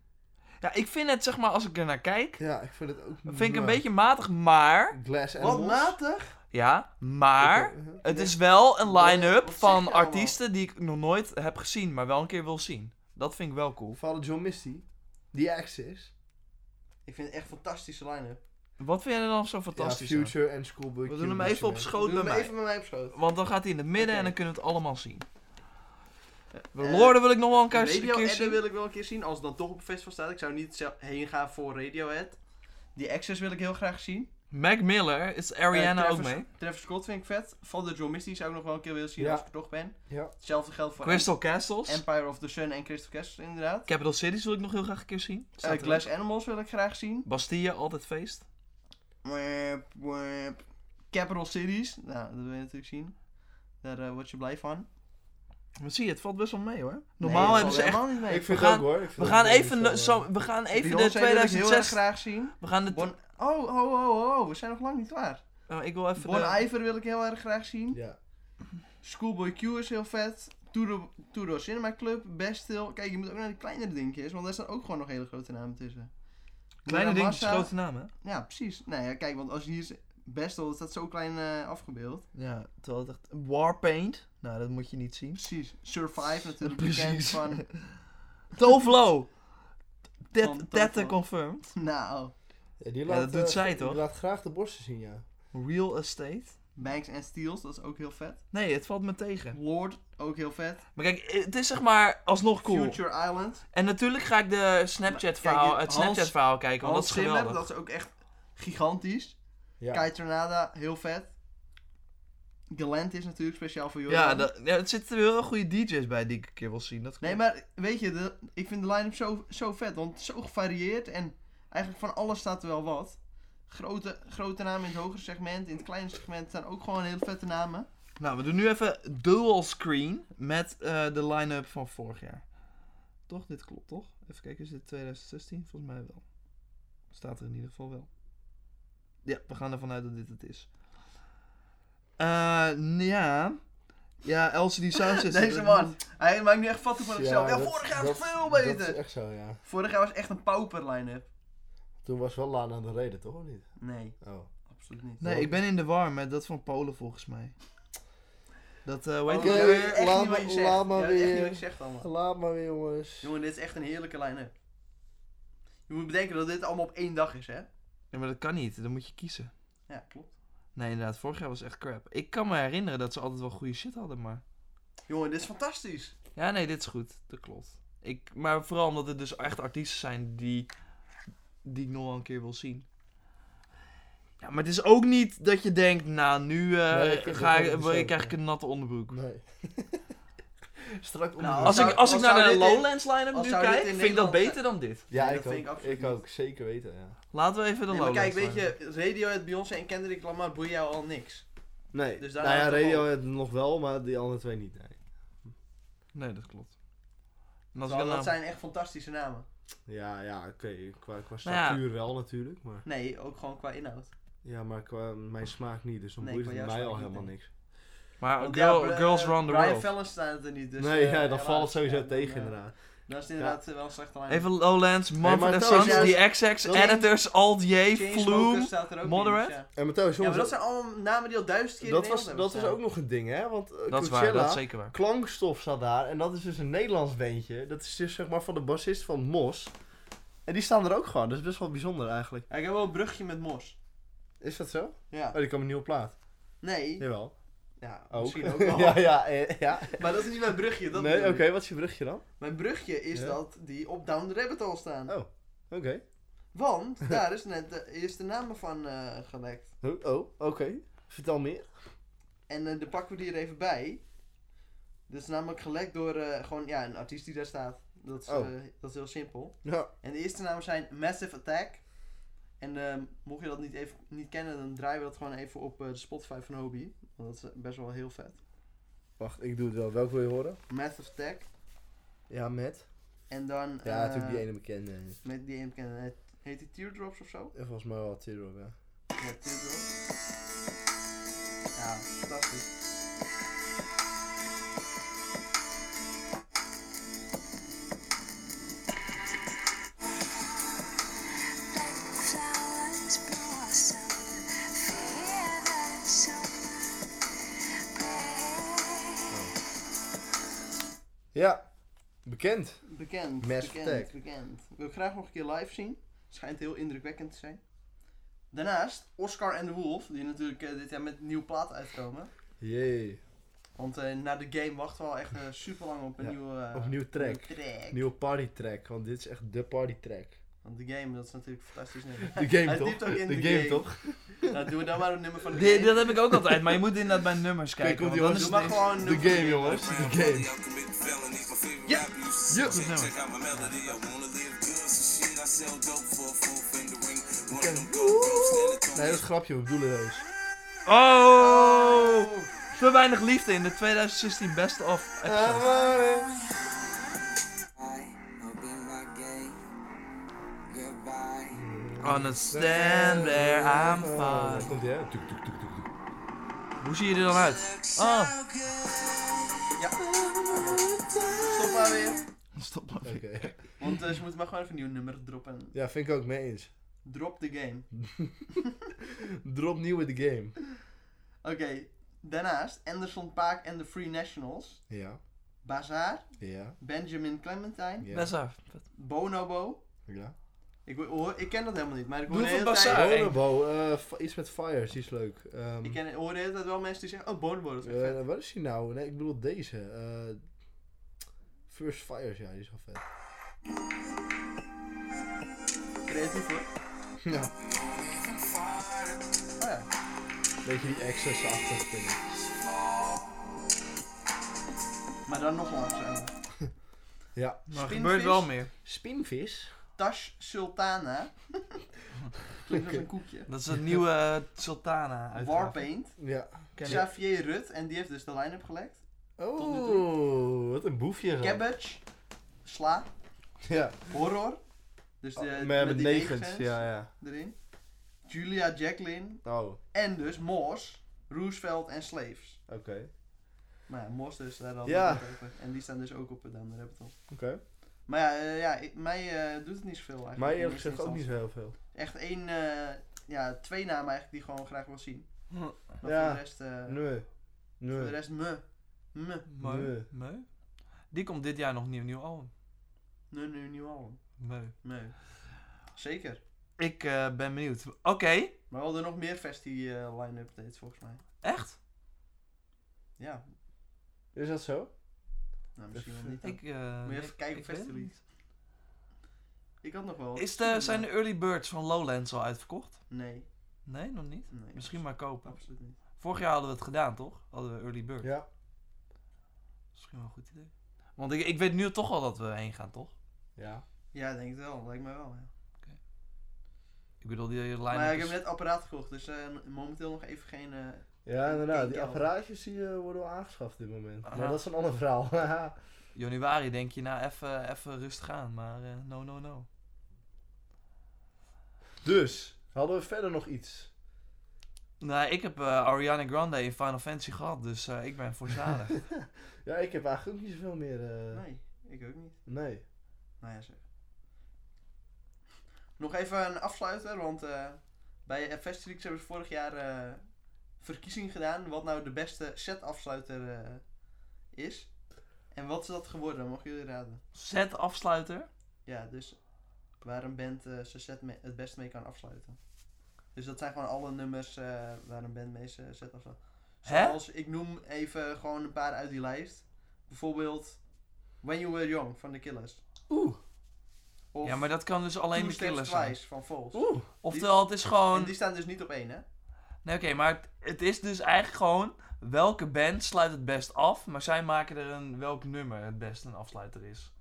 S1: Ja, ik vind het, zeg maar, als ik er naar kijk,
S3: Ja, ik vind het ook...
S1: vind ik een
S3: mwah.
S1: beetje matig, maar...
S3: Glass
S2: Wat
S3: Animals.
S2: matig!
S1: Ja, maar...
S3: Ik, eh,
S1: Het is wel een line-up
S2: Wat zeg je
S1: van
S2: allemaal?
S1: artiesten die ik nog nooit heb gezien, maar wel een keer wil zien. Dat vind ik wel cool.
S3: Vader John Misty. The Axis.
S2: Ik vind het echt een fantastische line-up.
S1: Wat vind jij er dan zo fantastisch
S3: Ja,
S1: aan?
S3: Future en Schoolboy
S1: We
S3: Q,
S1: doen hem
S3: dat
S1: even
S3: je
S1: op
S3: weet.
S1: schoot
S2: Doe
S1: bij
S2: hem
S1: mij.
S2: even met mij op schoot.
S1: Want dan gaat hij in het midden
S2: Oké.
S1: en dan kunnen we het allemaal zien. De
S2: Eh,
S1: Lorden wil ik nog wel een keer- keer
S2: Radiohead
S1: zien.
S2: wil ik wel een keer zien, als het dan toch op een festival staat. Ik zou niet zelf heen gaan voor Radiohead. Die Access wil ik heel graag zien.
S1: Mac Miller is Ariana
S2: Eh,
S1: ook
S2: Travis-
S1: mee.
S2: Travis Scott vind ik vet. Van de John Misty zou ik nog wel een keer willen zien
S3: Ja.
S2: als ik er toch ben.
S3: Ja.
S2: Hetzelfde geldt voor
S1: Crystal Castles.
S2: Empire of the Sun en Crystal Castles inderdaad.
S1: Capital Cities wil ik nog heel graag een keer zien.
S2: Eh,
S1: Staat er
S2: Glass
S1: ook.
S2: Animals wil ik graag zien.
S1: Bastille, altijd feest.
S2: Wep, wep. Capital Cities. Nou, dat wil je natuurlijk zien. Daar eh, word je blij van.
S1: Maar zie je, het valt best wel mee hoor.
S2: Nee,
S1: Normaal
S2: dat
S1: hebben ze
S2: valt
S1: echt...
S2: helemaal niet mee.
S3: Ik vind
S1: We
S3: het
S1: gaan-
S3: ook hoor. Ik vind
S1: We
S3: het
S1: gaan
S3: ook
S1: even,
S3: best wel,
S1: zo, we gaan even
S2: Beyoncé
S1: de
S2: wil ik heel erg
S1: 2006...
S2: graag zien.
S1: We gaan de...
S2: Bon Oh, oh, oh, oh, we zijn nog lang niet klaar.
S1: Nou, ik wil even
S2: Bon
S1: de-
S2: Iver wil ik heel erg graag zien.
S3: Ja.
S2: Schoolboy Q is heel vet. Tudor Tudor Cinema Club, Bestil. Kijk, je moet ook naar die kleinere dingetjes, want daar staan ook gewoon nog hele grote namen tussen.
S1: Kleine dingetjes,
S2: Muramasa-
S1: grote namen. hè?
S2: Ja, precies. Nou ja, kijk, want als je hier is Bestel, dat staat zo klein eh, afgebeeld.
S6: Ja, terwijl het echt... Warpaint. Nou, dat moet je niet
S2: [LAUGHS]
S6: zien.
S2: Precies. Survive natuurlijk bekend
S6: Precies.
S2: van... [LAUGHS]
S6: Tovlo!
S2: Van
S6: Tet- Tette
S2: Tovlo.
S6: confirmed.
S2: Nou,
S3: Ja, die
S1: Ja,
S3: laat,
S1: dat doet
S3: eh,
S1: zij
S3: die
S1: toch?
S3: laat graag de borsten zien, ja.
S6: Real Estate.
S2: Banks en Steels, dat is ook heel vet.
S1: Nee, het valt me tegen.
S2: Lord, ook heel vet.
S1: Maar kijk, eh, het is zeg maar alsnog cool.
S2: Future Island.
S1: En natuurlijk ga ik de Snapchat verhaal,
S2: Kijk,
S1: het
S2: Hans-
S1: Snapchat verhaal kijken, want dat
S2: Hans
S1: is
S2: Zimmer,
S1: geweldig.
S2: dat is ook echt gigantisch.
S3: Ja.
S2: Kai Tornada, heel vet. Galant is natuurlijk speciaal voor Jordan.
S6: Ja, dat, ja, er zitten heel goede DJ's bij die ik een keer wil zien. Dat
S2: Nee,
S6: klopt.
S2: maar weet je, de, ik vind de line-up zo, zo vet, want het is zo gevarieerd en eigenlijk van alles staat er wel wat. Grote, grote namen in het hogere segment, in het kleine segment staan ook gewoon hele vette namen.
S6: Nou, we doen nu even dual screen met eh, de line-up van vorig jaar. Toch? Dit klopt, toch? Even kijken, is dit 2016? Volgens mij wel. Staat er in ieder geval wel. Ja, we gaan ervan uit dat dit het is. Eh, nou ja. Ja, LCD
S2: [LAUGHS]
S6: Sound
S3: Dus,
S6: System.
S2: Deze man, hij maakt nu echt vattig van zichzelf. Ja,
S3: eh, dat-
S2: vorig jaar was
S3: dat-
S2: het veel
S3: Dat is
S2: beter.
S3: echt zo, ja.
S2: Vorig jaar was echt een pauper line-up.
S3: Toen was wel Lana de reden, toch? Of niet?
S2: Nee,
S3: Oh.
S2: absoluut niet.
S6: Nee, ik ben in de war met dat van Polen volgens mij. Dat, eh hoe heet
S2: Oh,
S6: dat?
S2: jij
S3: Oké,
S2: weet echt
S3: laat
S2: niet wat je
S3: maar-
S2: zegt.
S3: laat maar
S2: Jij weet echt niet
S3: weer.
S2: wat je zegt allemaal.
S3: Laat maar weer, jongens.
S2: Jongen, dit is echt een heerlijke line-up. Je moet bedenken dat dit allemaal op één dag is, hè?
S1: Ja, maar dat kan niet, dan moet je kiezen.
S2: Ja, klopt.
S1: Nee, inderdaad, vorig jaar was echt crap. Ik kan me herinneren dat ze altijd wel goede shit hadden, maar...
S2: Jongen, dit is fantastisch.
S1: Ja, nee, dit is goed, dat klopt. Ik, maar vooral omdat het dus echt artiesten zijn die, die ik nog wel een keer wil zien. Ja, maar het is ook niet dat je denkt, nou, nu eh,
S3: Nee, ik vind
S1: ga
S3: het
S1: ik,
S3: ook niet zo,
S1: krijg ik
S3: ja.
S1: een natte onderbroek.
S3: Nee. [LAUGHS] Strak onder.
S2: Nou,
S3: de-
S1: Als
S2: zou-
S1: ik, als ik
S2: als
S1: naar
S2: zou
S1: de
S2: dit in-
S1: Lowlands line-up
S2: als
S1: nu
S2: zou dit
S1: kijk,
S2: in
S1: vind ik dat
S2: Nederland
S1: beter dan dit.
S3: ja,
S2: Nee,
S3: ik
S2: dat vind ik
S3: ook.
S2: absoluut
S3: Ik ook, zeker weten, ja.
S1: Laten we even de
S2: Nee, maar
S1: Lowlands
S2: kijk, weet
S1: line-up.
S2: je, Radiohead, Beyoncé en Kendrick Lamar boeien jou al niks.
S3: Nee,
S2: Dus daar
S3: nou ja,
S2: houdt het op.
S3: radio nog wel, maar die andere twee niet, nee.
S1: Nee, dat klopt. En als ik
S2: Terwijl
S1: dan
S2: dat zijn echt fantastische namen.
S3: Ja, ja, oké. Qua, qua
S1: Nou ja.
S3: structuur wel natuurlijk, maar...
S2: Nee, ook gewoon qua inhoud.
S1: Oh,
S3: Ja, maar qua mijn smaak niet, dus dan
S2: Nee,
S3: boeit
S2: qua
S3: het
S2: jouw
S3: mij al
S2: smaak niet,
S3: helemaal
S2: nee.
S3: niks.
S1: Maar
S2: Want
S1: girl-
S2: ja, Bra-
S1: Girls Round the
S2: Brian
S1: World.
S2: Fallon staat er niet, dus...
S3: nee,
S2: eh,
S3: ja, dat
S2: helaas.
S3: valt het sowieso
S2: Ja, dan,
S3: tegen
S2: eh,
S3: inderdaad.
S2: Dat is inderdaad eh, wel een slechte line-up.
S1: Even Lowlands, Manfred
S3: maar
S1: Sons,
S3: trouwens,
S1: The XX,
S3: dat-
S1: Editors, Alt J,
S2: Chainsmokers
S1: Flume.
S2: staat er ook
S1: Moderate.
S2: in, dus ja.
S3: En Matthäus,
S2: ja, maar dat
S3: jongens,
S2: zijn allemaal namen die al duizend keer
S3: dat
S2: in
S3: was,
S2: Nederland
S3: dat was
S2: hebben
S3: ook nog een ding, hè? Want eh,
S1: Dat is waar,
S3: Coachella,
S1: dat is zeker waar.
S3: Klankstof zat daar, en dat is dus een Nederlands bandje. Dat is dus zeg maar van de bassist van Mos. En die staan er ook gewoon, dat is best wel bijzonder eigenlijk.
S2: staan. Ja, ik heb wel een brugje met Mos.
S3: Is dat zo?
S2: Ja.
S3: Oh, die kwam een nieuwe plaat.
S2: Nee.
S3: Jawel.
S2: Ja,
S3: Ook.
S2: misschien
S3: [LAUGHS]
S2: ook wel.
S3: ja, ja, eh, ja.
S2: Maar dat is niet mijn brugje. Dat
S3: Nee,
S2: bedoel
S3: oké,
S2: ik.
S3: wat is je brugje dan?
S2: Mijn brugje is
S3: Ja.
S2: dat die op Down the Rabbit Hole staan.
S3: Oh. Oké. [LAUGHS]
S2: Want daar is net de eerste namen van eh, gelekt.
S3: Oh, oh, oké. Vertel meer.
S2: En eh, de pakken we die er even bij. Dat is namelijk gelekt door eh, gewoon ja, een artiest die daar staat. Dat is,
S3: Oh.
S2: eh, dat is heel simpel.
S3: Ja.
S2: En de eerste namen zijn Massive Attack. En eh, mocht je dat niet, even, niet kennen, dan draaien we dat gewoon even op eh, de Spotify van Hobby. Want dat is eh, best wel heel vet.
S3: Wacht, ik doe het wel. Welke wil je horen?
S2: Massive Attack.
S3: Ja, met.
S2: En dan...
S3: Ja,
S2: eh,
S3: natuurlijk die ene bekende.
S2: Met die ene bekende. Het- Heet die Teardrops of zo?
S3: En Volgens mij wel Teardrop, ja.
S2: Ja, Teardrops. Ja, fantastisch.
S4: Flowers blossom, fear the summer breeze.
S3: Ja. Bekend.
S2: Bekend,
S3: Massive
S2: bekend,
S3: Attack.
S2: bekend. Wil ik graag nog een keer live zien. Schijnt heel indrukwekkend te zijn. Daarnaast Oscar en de Wolf, die natuurlijk eh, dit jaar met een nieuwe plaat uitkomen.
S3: Jee.
S2: Want eh, na de game wachten we al echt super lang op een
S3: Ja,
S2: nieuwe, eh,
S3: op een nieuwe track.
S2: nieuwe track.
S3: Nieuwe party track, want dit is echt de party track.
S2: Want de game, dat is natuurlijk fantastisch. nummer.
S3: De game
S2: Hij
S3: toch?
S2: typt ook in de game.
S3: toch?
S2: nou, doen we dan maar een nummer van
S3: [LAUGHS]
S2: de
S1: Die-
S2: game.
S1: dat heb ik ook altijd, maar je moet inderdaad bij nummers
S3: Kijk,
S1: kijken.
S3: komt
S1: want
S3: die
S1: dan
S3: jongens.
S1: is
S2: Doe
S1: het niks.
S2: maar gewoon een
S3: De
S2: nummer van
S3: game, jongens.
S5: Check
S3: De
S5: out
S3: game.
S1: Ja.
S5: my melody, I wanna live good, so shit, I sell dope for a full finger ring. One of them gold ropes, and it's on
S3: Nee, dat is een grapje, we bedoelen deze.
S1: Oh! Te weinig liefde in de 2016 Best of episode.
S5: Open my gate. Goodbye. I
S2: Ah.
S1: Gonna stand there, I'm
S3: Dan
S1: fine.
S3: Oh, komt hij, hè? Tuk, tuk, tuk, tuk, tuk.
S1: Hoe zie je er dan uit? Ah,
S2: Stop maar weer.
S6: Stop maar.
S3: Oké.
S2: Want eh, ze moeten maar gewoon even een nieuw nummer droppen.
S3: [LAUGHS] Ja, vind ik ook mee eens.
S2: Drop the game.
S3: Drop nieuw in de game.
S2: Oké, daarnaast Anderson Paak en de Free Nationals.
S3: Ja,
S2: Bazaar,
S3: ja,
S2: Benjamin Clementine,
S3: ja.
S1: best af.
S2: Bonobo.
S3: ja.
S2: Ik, hoor, ik ken dat helemaal niet, maar ik
S1: Doe
S2: hoor de
S1: voor
S2: hele
S1: Bazaar.
S2: tijd...
S1: Ja,
S3: Bonobo, eh, f- iets met fires, die is leuk. Ehm,
S2: Ik ken, hoor de hele tijd wel mensen die zeggen, oh Bonobo, dat is echt
S3: eh,
S2: vet.
S3: wat is die nou? Nee, ik bedoel deze. eh, First Fires, ja, die is wel vet.
S2: Creatief hoor.
S3: [LAUGHS] Ja,
S2: Oh ja.
S3: beetje die access achter vind ik.
S2: Maar dan nog langzamer.
S3: Ja.
S1: Maar er
S2: Spinvis.
S1: gebeurt wel meer.
S3: Spinvis?
S2: Tash
S3: [LAUGHS]
S2: Sultana. Klinkt als een koekje.
S1: Dat is een nieuwe eh, Sultana uit.
S2: Warpaint.
S3: Ja.
S2: Xavier Rut, en die heeft dus de line-up gelekt. nu
S3: Oh, wat een boefje. zeg.
S2: Cabbage. Sla.
S3: Ja,
S2: Horror. Dus de,
S3: met,
S2: met,
S3: Oh, met,
S2: die
S3: negens.
S2: negens
S3: Ja, ja.
S2: erin. Julia Jacqueline.
S3: Oh, oké.
S2: En dus Moors, Roosevelt en Slaves. Maar ja, Moors dus, daar hadden
S3: Ja.
S2: we het over. En die staan dus ook op het Down the Rabbit Hole.
S3: Oké.
S2: Maar ja, eh, ja ik- mij eh, doet het niet zoveel eigenlijk.
S3: Maar
S2: in
S3: eerlijk
S2: eerste
S3: gezegd ook niet
S2: instantie.
S3: zo heel veel.
S2: Echt één, eh, ja, twee namen eigenlijk die ik gewoon graag wil zien.
S1: Hm.
S2: Maar
S3: Ja.
S2: voor de rest, eh,
S3: Nee.
S2: voor de
S3: Nee.
S2: rest me. Me.
S1: Mooi.
S3: Nee.
S1: Mooi. Die komt dit jaar nog nieuw, nieuw album.
S2: Nee, nee, nieuw album.
S1: Mooi.
S2: Nee. Zeker.
S1: Ik eh, ben benieuwd. Oké,
S2: Maar we hadden nog meer festi eh line-up dates volgens mij.
S1: echt?
S2: Ja,
S3: Is dat zo?
S2: nou, misschien wel niet. dan.
S1: Ik, eh,
S2: Moet je
S1: ik-
S2: even kijken op
S1: ik weet het
S2: Festival.
S1: niet.
S2: Ik had nog wel.
S1: Is de, zijn de early birds van Lowlands al uitverkocht?
S2: Nee.
S1: Nee, nog niet.
S2: nee
S1: Misschien maar kopen.
S2: Absoluut niet.
S1: Vorig jaar hadden we het gedaan, toch? Hadden we early bird.
S3: Ja.
S1: Misschien wel een goed idee. Want ik, ik weet nu toch al dat we heen gaan, toch?
S3: Ja.
S2: Ja, ik denk het wel. Lijkt mij wel. Ja.
S1: Ik bedoel, die line
S2: Maar ja, ik heb
S1: is...
S2: net apparaat gekocht, dus eh, n- momenteel nog even geen. eh,
S3: Ja, inderdaad.
S2: denk
S3: Die
S2: wel.
S3: apparaatjes die, eh, worden al aangeschaft op dit moment.
S1: Aha.
S3: Maar dat is een ander verhaal. [LAUGHS]
S1: Januari denk je, nou, even- even rustig aan. Maar eh, no, no, no.
S3: dus, hadden we verder nog iets?
S1: Nou, ik heb eh, Ariana Grande in Final Fantasy gehad, dus eh, ik ben voorzadig.
S2: [LAUGHS]
S3: Ja, ik heb eigenlijk ook niet zoveel meer. eh,
S2: Nee, ik ook niet.
S3: nee.
S2: Nou ja, zeg. Nog even een afsluiter, want eh, bij Festileaks hebben ze vorig jaar eh, verkiezing gedaan wat nou de beste set-afsluiter eh, is. En wat is dat geworden, mogen jullie raden?
S1: Zet afsluiter.
S2: Ja, dus waar een band eh, zijn set me- het best mee kan afsluiten. Dus dat zijn gewoon alle nummers eh, waar een band mee zijn set afsluit.
S1: Hè?
S2: Zoals, ik noem even gewoon een paar uit die lijst. Bijvoorbeeld When You Were Young van The Killers.
S3: Oeh.
S2: Of
S1: ja, maar dat kan dus alleen
S2: Two
S1: de
S2: Steps
S1: killers zijn.
S2: Twice van Vols.
S3: Oeh.
S1: Oftewel, het is gewoon...
S2: En die staan dus niet op één, hè?
S1: Nee, oké, maar het, het is dus eigenlijk gewoon... Welke band sluit het best af, maar zij maken er een... Welk nummer het best een afsluiter is.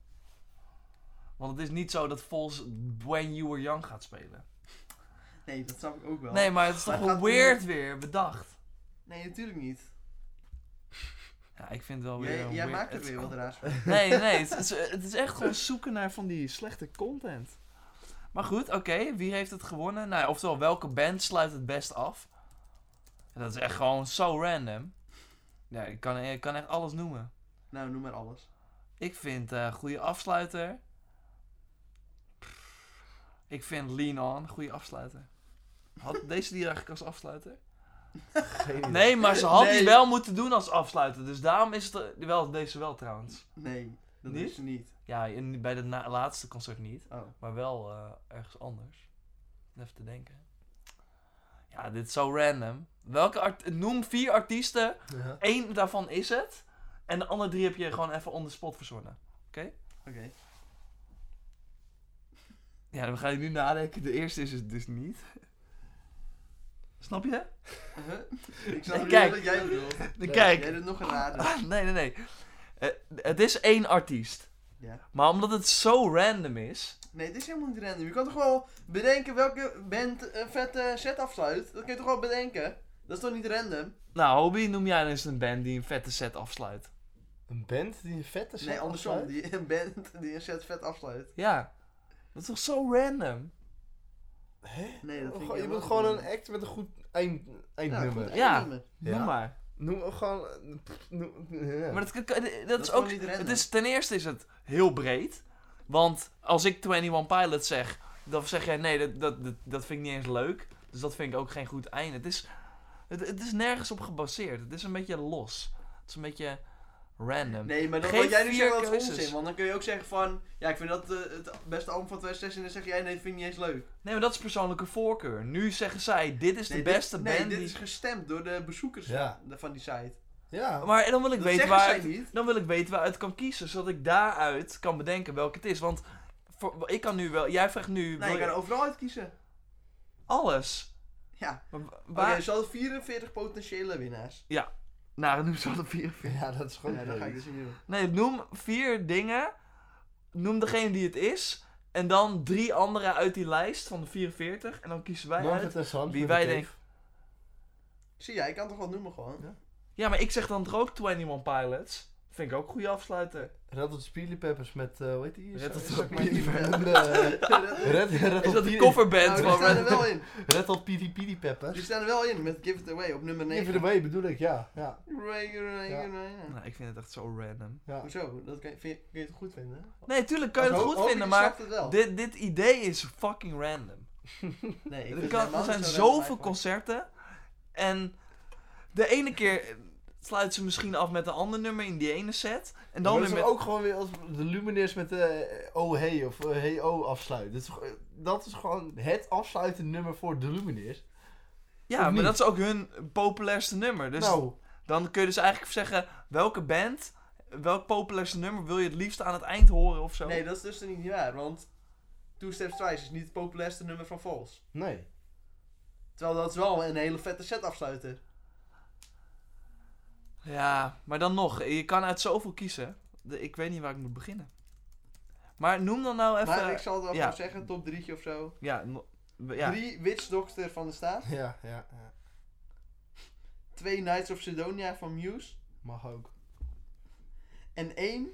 S1: Want het is niet zo dat Vols When You Were Young gaat spelen.
S2: Nee, dat snap ik ook wel.
S1: Nee, maar het is toch
S2: Maar
S1: wel
S2: gaat die-
S1: weird weer bedacht.
S2: Nee, natuurlijk niet.
S1: Oh Ja, ik vind het wel weer...
S2: Jij,
S1: een
S2: jij
S1: weird-
S2: maakt er
S1: het-
S2: weer wat raars
S1: [LAUGHS]
S2: van.
S1: Nee, nee, het is, het is echt gewoon zoeken naar van die slechte content. Maar goed, oké, wie heeft het gewonnen? Nou, ja, oftewel, welke band sluit het best af? En dat is echt gewoon zo random. Ja, ik kan, ik kan echt alles noemen.
S2: Nou, noem maar alles.
S1: Ik vind eh goede afsluiter. Ik vind Lean On goede afsluiter. Had [LAUGHS] deze die eigenlijk als afsluiter?
S3: Geen idee.
S1: Nee, maar ze had
S2: Nee.
S1: die wel moeten doen als afsluiter. Dus daarom is het er- wel, deze wel trouwens.
S2: Nee, dat
S1: Niet?
S2: is ze niet.
S1: Ja, in, bij het na- laatste concert niet.
S2: Oh.
S1: Maar wel eh, ergens anders. Even te denken. Ja, dit is zo random. Welke art- Noem vier artiesten.
S3: Ja.
S1: Eén daarvan is het. En de andere drie heb je gewoon even on the spot verzonnen.
S2: Oké.
S1: Ja, dan ga je nu nadenken. De eerste is het dus niet. [LAUGHS] Snap je?
S2: Huh? Ik snap
S1: Nee,
S2: niet
S1: kijk.
S2: wat jij bedoelt.
S1: Dan
S2: Jij
S1: kijk. Ah,
S2: doet nog een
S1: [LAUGHS]
S2: rare.
S1: Nee, nee, nee. Eh, het is één artiest.
S2: Ja.
S1: Maar omdat het zo random is.
S2: Nee, dit is helemaal niet random. Je kan toch wel bedenken welke band een vette set afsluit? Dat kun je toch wel bedenken? Dat is toch niet random?
S1: Nou, Hobie, noem jij eens een band die een vette set afsluit?
S3: Een band die een vette set
S2: Nee, andersom.
S3: afsluit?
S2: Die, [LAUGHS] een band die een set vet afsluit.
S1: Ja. Dat is toch zo random?
S3: Hè?
S2: Nee, dat vind ik
S3: Gewoon- je
S2: helemaal
S3: moet gewoon
S2: niet.
S3: een act met een goed eind,
S2: Ja,
S3: eindnummer.
S2: goed,
S1: Ja.
S2: eindnummer.
S3: Ja.
S1: Noem maar.
S3: Noem gewoon... eh, pff, noem- ja.
S1: Maar dat, kan- kan- dat,
S2: is
S1: is
S2: gewoon
S1: ook.
S2: niet redden.
S1: Het is, ten eerste is het heel breed. Want als ik 21 Pilots zeg, dan zeg jij nee, dat, dat, dat, dat vind ik niet eens leuk. Dus dat vind ik ook geen goed einde. Het is, het, het is nergens op gebaseerd. Het is een beetje los. Het is een beetje random.
S2: Nee, maar dat
S1: Geef
S2: wat jij nu
S1: vier
S2: zegt, dat is
S1: keuzes.
S2: onzin. Want dan kun je ook zeggen van, ja, ik vind dat eh, het beste album van 2016. En dan zeg jij, nee, vind ik niet eens leuk.
S1: Nee, maar dat is persoonlijke voorkeur. Nu zeggen zij, dit is
S2: Nee,
S1: de
S2: dit-
S1: beste
S2: Nee,
S1: band
S2: dit
S1: die-
S2: is gestemd door de bezoekers
S3: Ja.
S2: van, van die site.
S3: ja.
S1: [LAUGHS] Maar dan wil ik
S2: Dat
S1: weten
S2: zeggen
S1: waar...
S2: zij niet.
S1: Dan wil ik weten waaruit ik kan kiezen, zodat ik daaruit kan bedenken welke het is. Want voor, ik kan nu wel... Jij vraagt nu...
S2: Nee,
S1: wil
S2: je kan
S1: je-
S2: overal uitkiezen.
S1: Alles.
S2: Ja.
S1: Maar wa-
S2: Oké,
S1: waar...
S2: ze hadden 44 potentiële winnaars.
S1: Nou, dan noem ze alle vier.
S3: Ja, dat is gewoon
S2: Ja, dat ga ik
S3: leuk.
S2: dus niet doen.
S1: Nee, noem vier dingen. Noem degene die het is. En dan drie andere uit die lijst van de 44. En dan kiezen wij
S3: Margaret
S1: uit.
S3: en Sam
S1: wie
S3: met
S1: wij
S3: de
S1: denken.
S3: cave.
S2: Zie jij, ik kan toch wel noemen gewoon.
S1: Ja, maar ik zeg dan toch ook 21 Pilots. Vind ik ook een goede afsluiter.
S3: Red Hot Chili Peppers met, eh hoe heet die?
S1: Red Hot
S3: Zak maar
S1: Chili
S3: die
S1: Peppers.
S3: van, eh,
S2: [LAUGHS]
S3: Red, Red
S1: Is
S3: Hot
S1: dat
S3: Chili-
S1: die coverband
S2: nou, die
S1: van
S2: staan er
S1: Red...
S2: wel in.
S3: Red Hot Piri Piri
S2: Die
S3: Peppers.
S2: staan er wel in met Give It Away op nummer 9.
S3: Even ermee bedoel ik, ja. ja,
S2: Ray, ray,
S3: Ja.
S2: ray, ja.
S1: Nou, ik vind het echt zo random.
S3: ja.
S2: Hoezo? Dat kun je, vind je, kun je het goed vinden? hè?
S1: Nee, tuurlijk kan je
S3: Ho-
S1: het goed
S3: hoop
S1: vinden,
S2: Ik
S1: maar
S2: snap het wel.
S1: dit, dit idee is fucking random.
S2: Nee, ik vind
S1: Er,
S2: het
S1: kan,
S2: helemaal
S1: er zijn
S2: niet zo random
S1: zoveel
S2: eigenlijk.
S1: concerten. En de ene keer sluit ze misschien af met een ander nummer in die ene set. En dan
S3: Maar
S1: weer
S3: dat is
S1: met...
S3: ook gewoon weer als de Lumineers met de Oh Hey of eh, Hey Oh afsluiten. Dat is, toch, eh, dat is gewoon het afsluitende nummer voor de Lumineers. Of
S1: Ja, maar
S3: niet?
S1: dat is ook hun populairste nummer. Dus
S3: nou,
S1: dan kun je dus eigenlijk zeggen welke band, welk populairste nummer wil je het liefst aan het eind horen of zo.
S2: Nee, dat is dus niet waar, want Two Steps Twice is niet het populairste nummer van Vols.
S3: nee.
S2: Terwijl dat is wel een hele vette set afsluiten.
S1: Ja, maar dan nog, je kan uit zoveel kiezen. De- ik weet niet waar ik moet beginnen. Maar noem dan nou even.
S2: Maar ik zal het wel
S1: ja.
S2: gewoon zeggen, top 3 of zo.
S1: Ja, no- ja.
S2: Drie Witch Doctor van de Staat.
S3: Ja, ja, ja.
S2: Twee Knights of Sidonia van Muse.
S3: Mag ook.
S2: En één,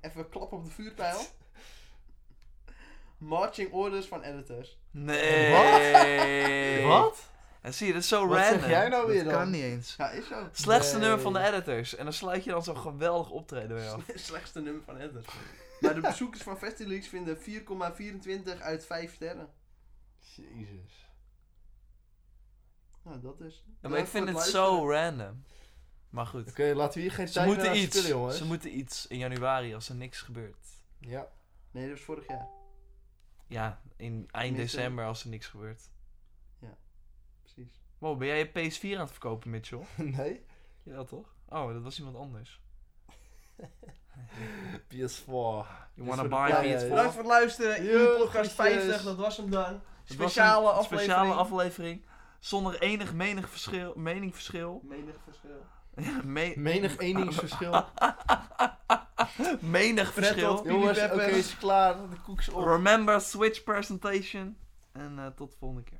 S2: even klap op de
S1: [LAUGHS]
S2: vuurpijl. Marching Orders van Editors.
S1: Nee.
S3: Wat?
S1: En zie je, dat is zo
S3: Wat
S1: random.
S3: zeg jij nou weer
S6: Dat
S3: dan?
S6: kan niet eens.
S2: Ja, is zo.
S1: Slechtste
S3: Nee.
S1: nummer van de editors. En dan sluit je dan zo'n geweldig optreden weer af.
S2: [LAUGHS] Slechtste nummer van Editors. Maar de bezoekers van Festileaks vinden 4,24 uit 5 sterren.
S3: Jezus.
S2: Nou, dat is.
S1: Ja, maar ik vind het zo random. Maar goed.
S3: Oké, laten we hier geen
S1: Ze
S3: tijd meer aan
S1: moeten, iets,
S3: spillen, jongens.
S1: ze moeten iets in januari als er niks gebeurt.
S3: Ja. [LAUGHS]
S2: Nee, dat was vorig jaar.
S1: Ja, in eind
S2: Tenminste-
S1: december als er niks gebeurt.
S2: Precies.
S1: Wow, ben jij je PS4 aan het verkopen, Mitchell?
S3: nee.
S1: Ja, toch? Oh, dat was iemand anders.
S3: PS4.
S1: You
S3: Dus
S1: wanna
S3: voor
S1: buy
S3: de player,
S1: me
S3: ja.
S2: Bedankt voor het luisteren.
S3: Yo,
S2: Jullie podcast
S3: groetjes.
S2: 50, dat was hem dan.
S1: Het was
S2: Speciale
S1: een
S2: aflevering.
S1: Speciale aflevering. Zonder enig menig verschil,
S2: [LAUGHS]
S1: meningverschil.
S2: Menig verschil.
S1: Ja, me-
S3: Menig
S1: ah,
S3: eningsverschil.
S1: menig verschil.
S3: jongens, oké,
S2: Peppers.
S3: is klaar. De koek is op.
S1: Remember switch presentation. En eh, tot de volgende keer.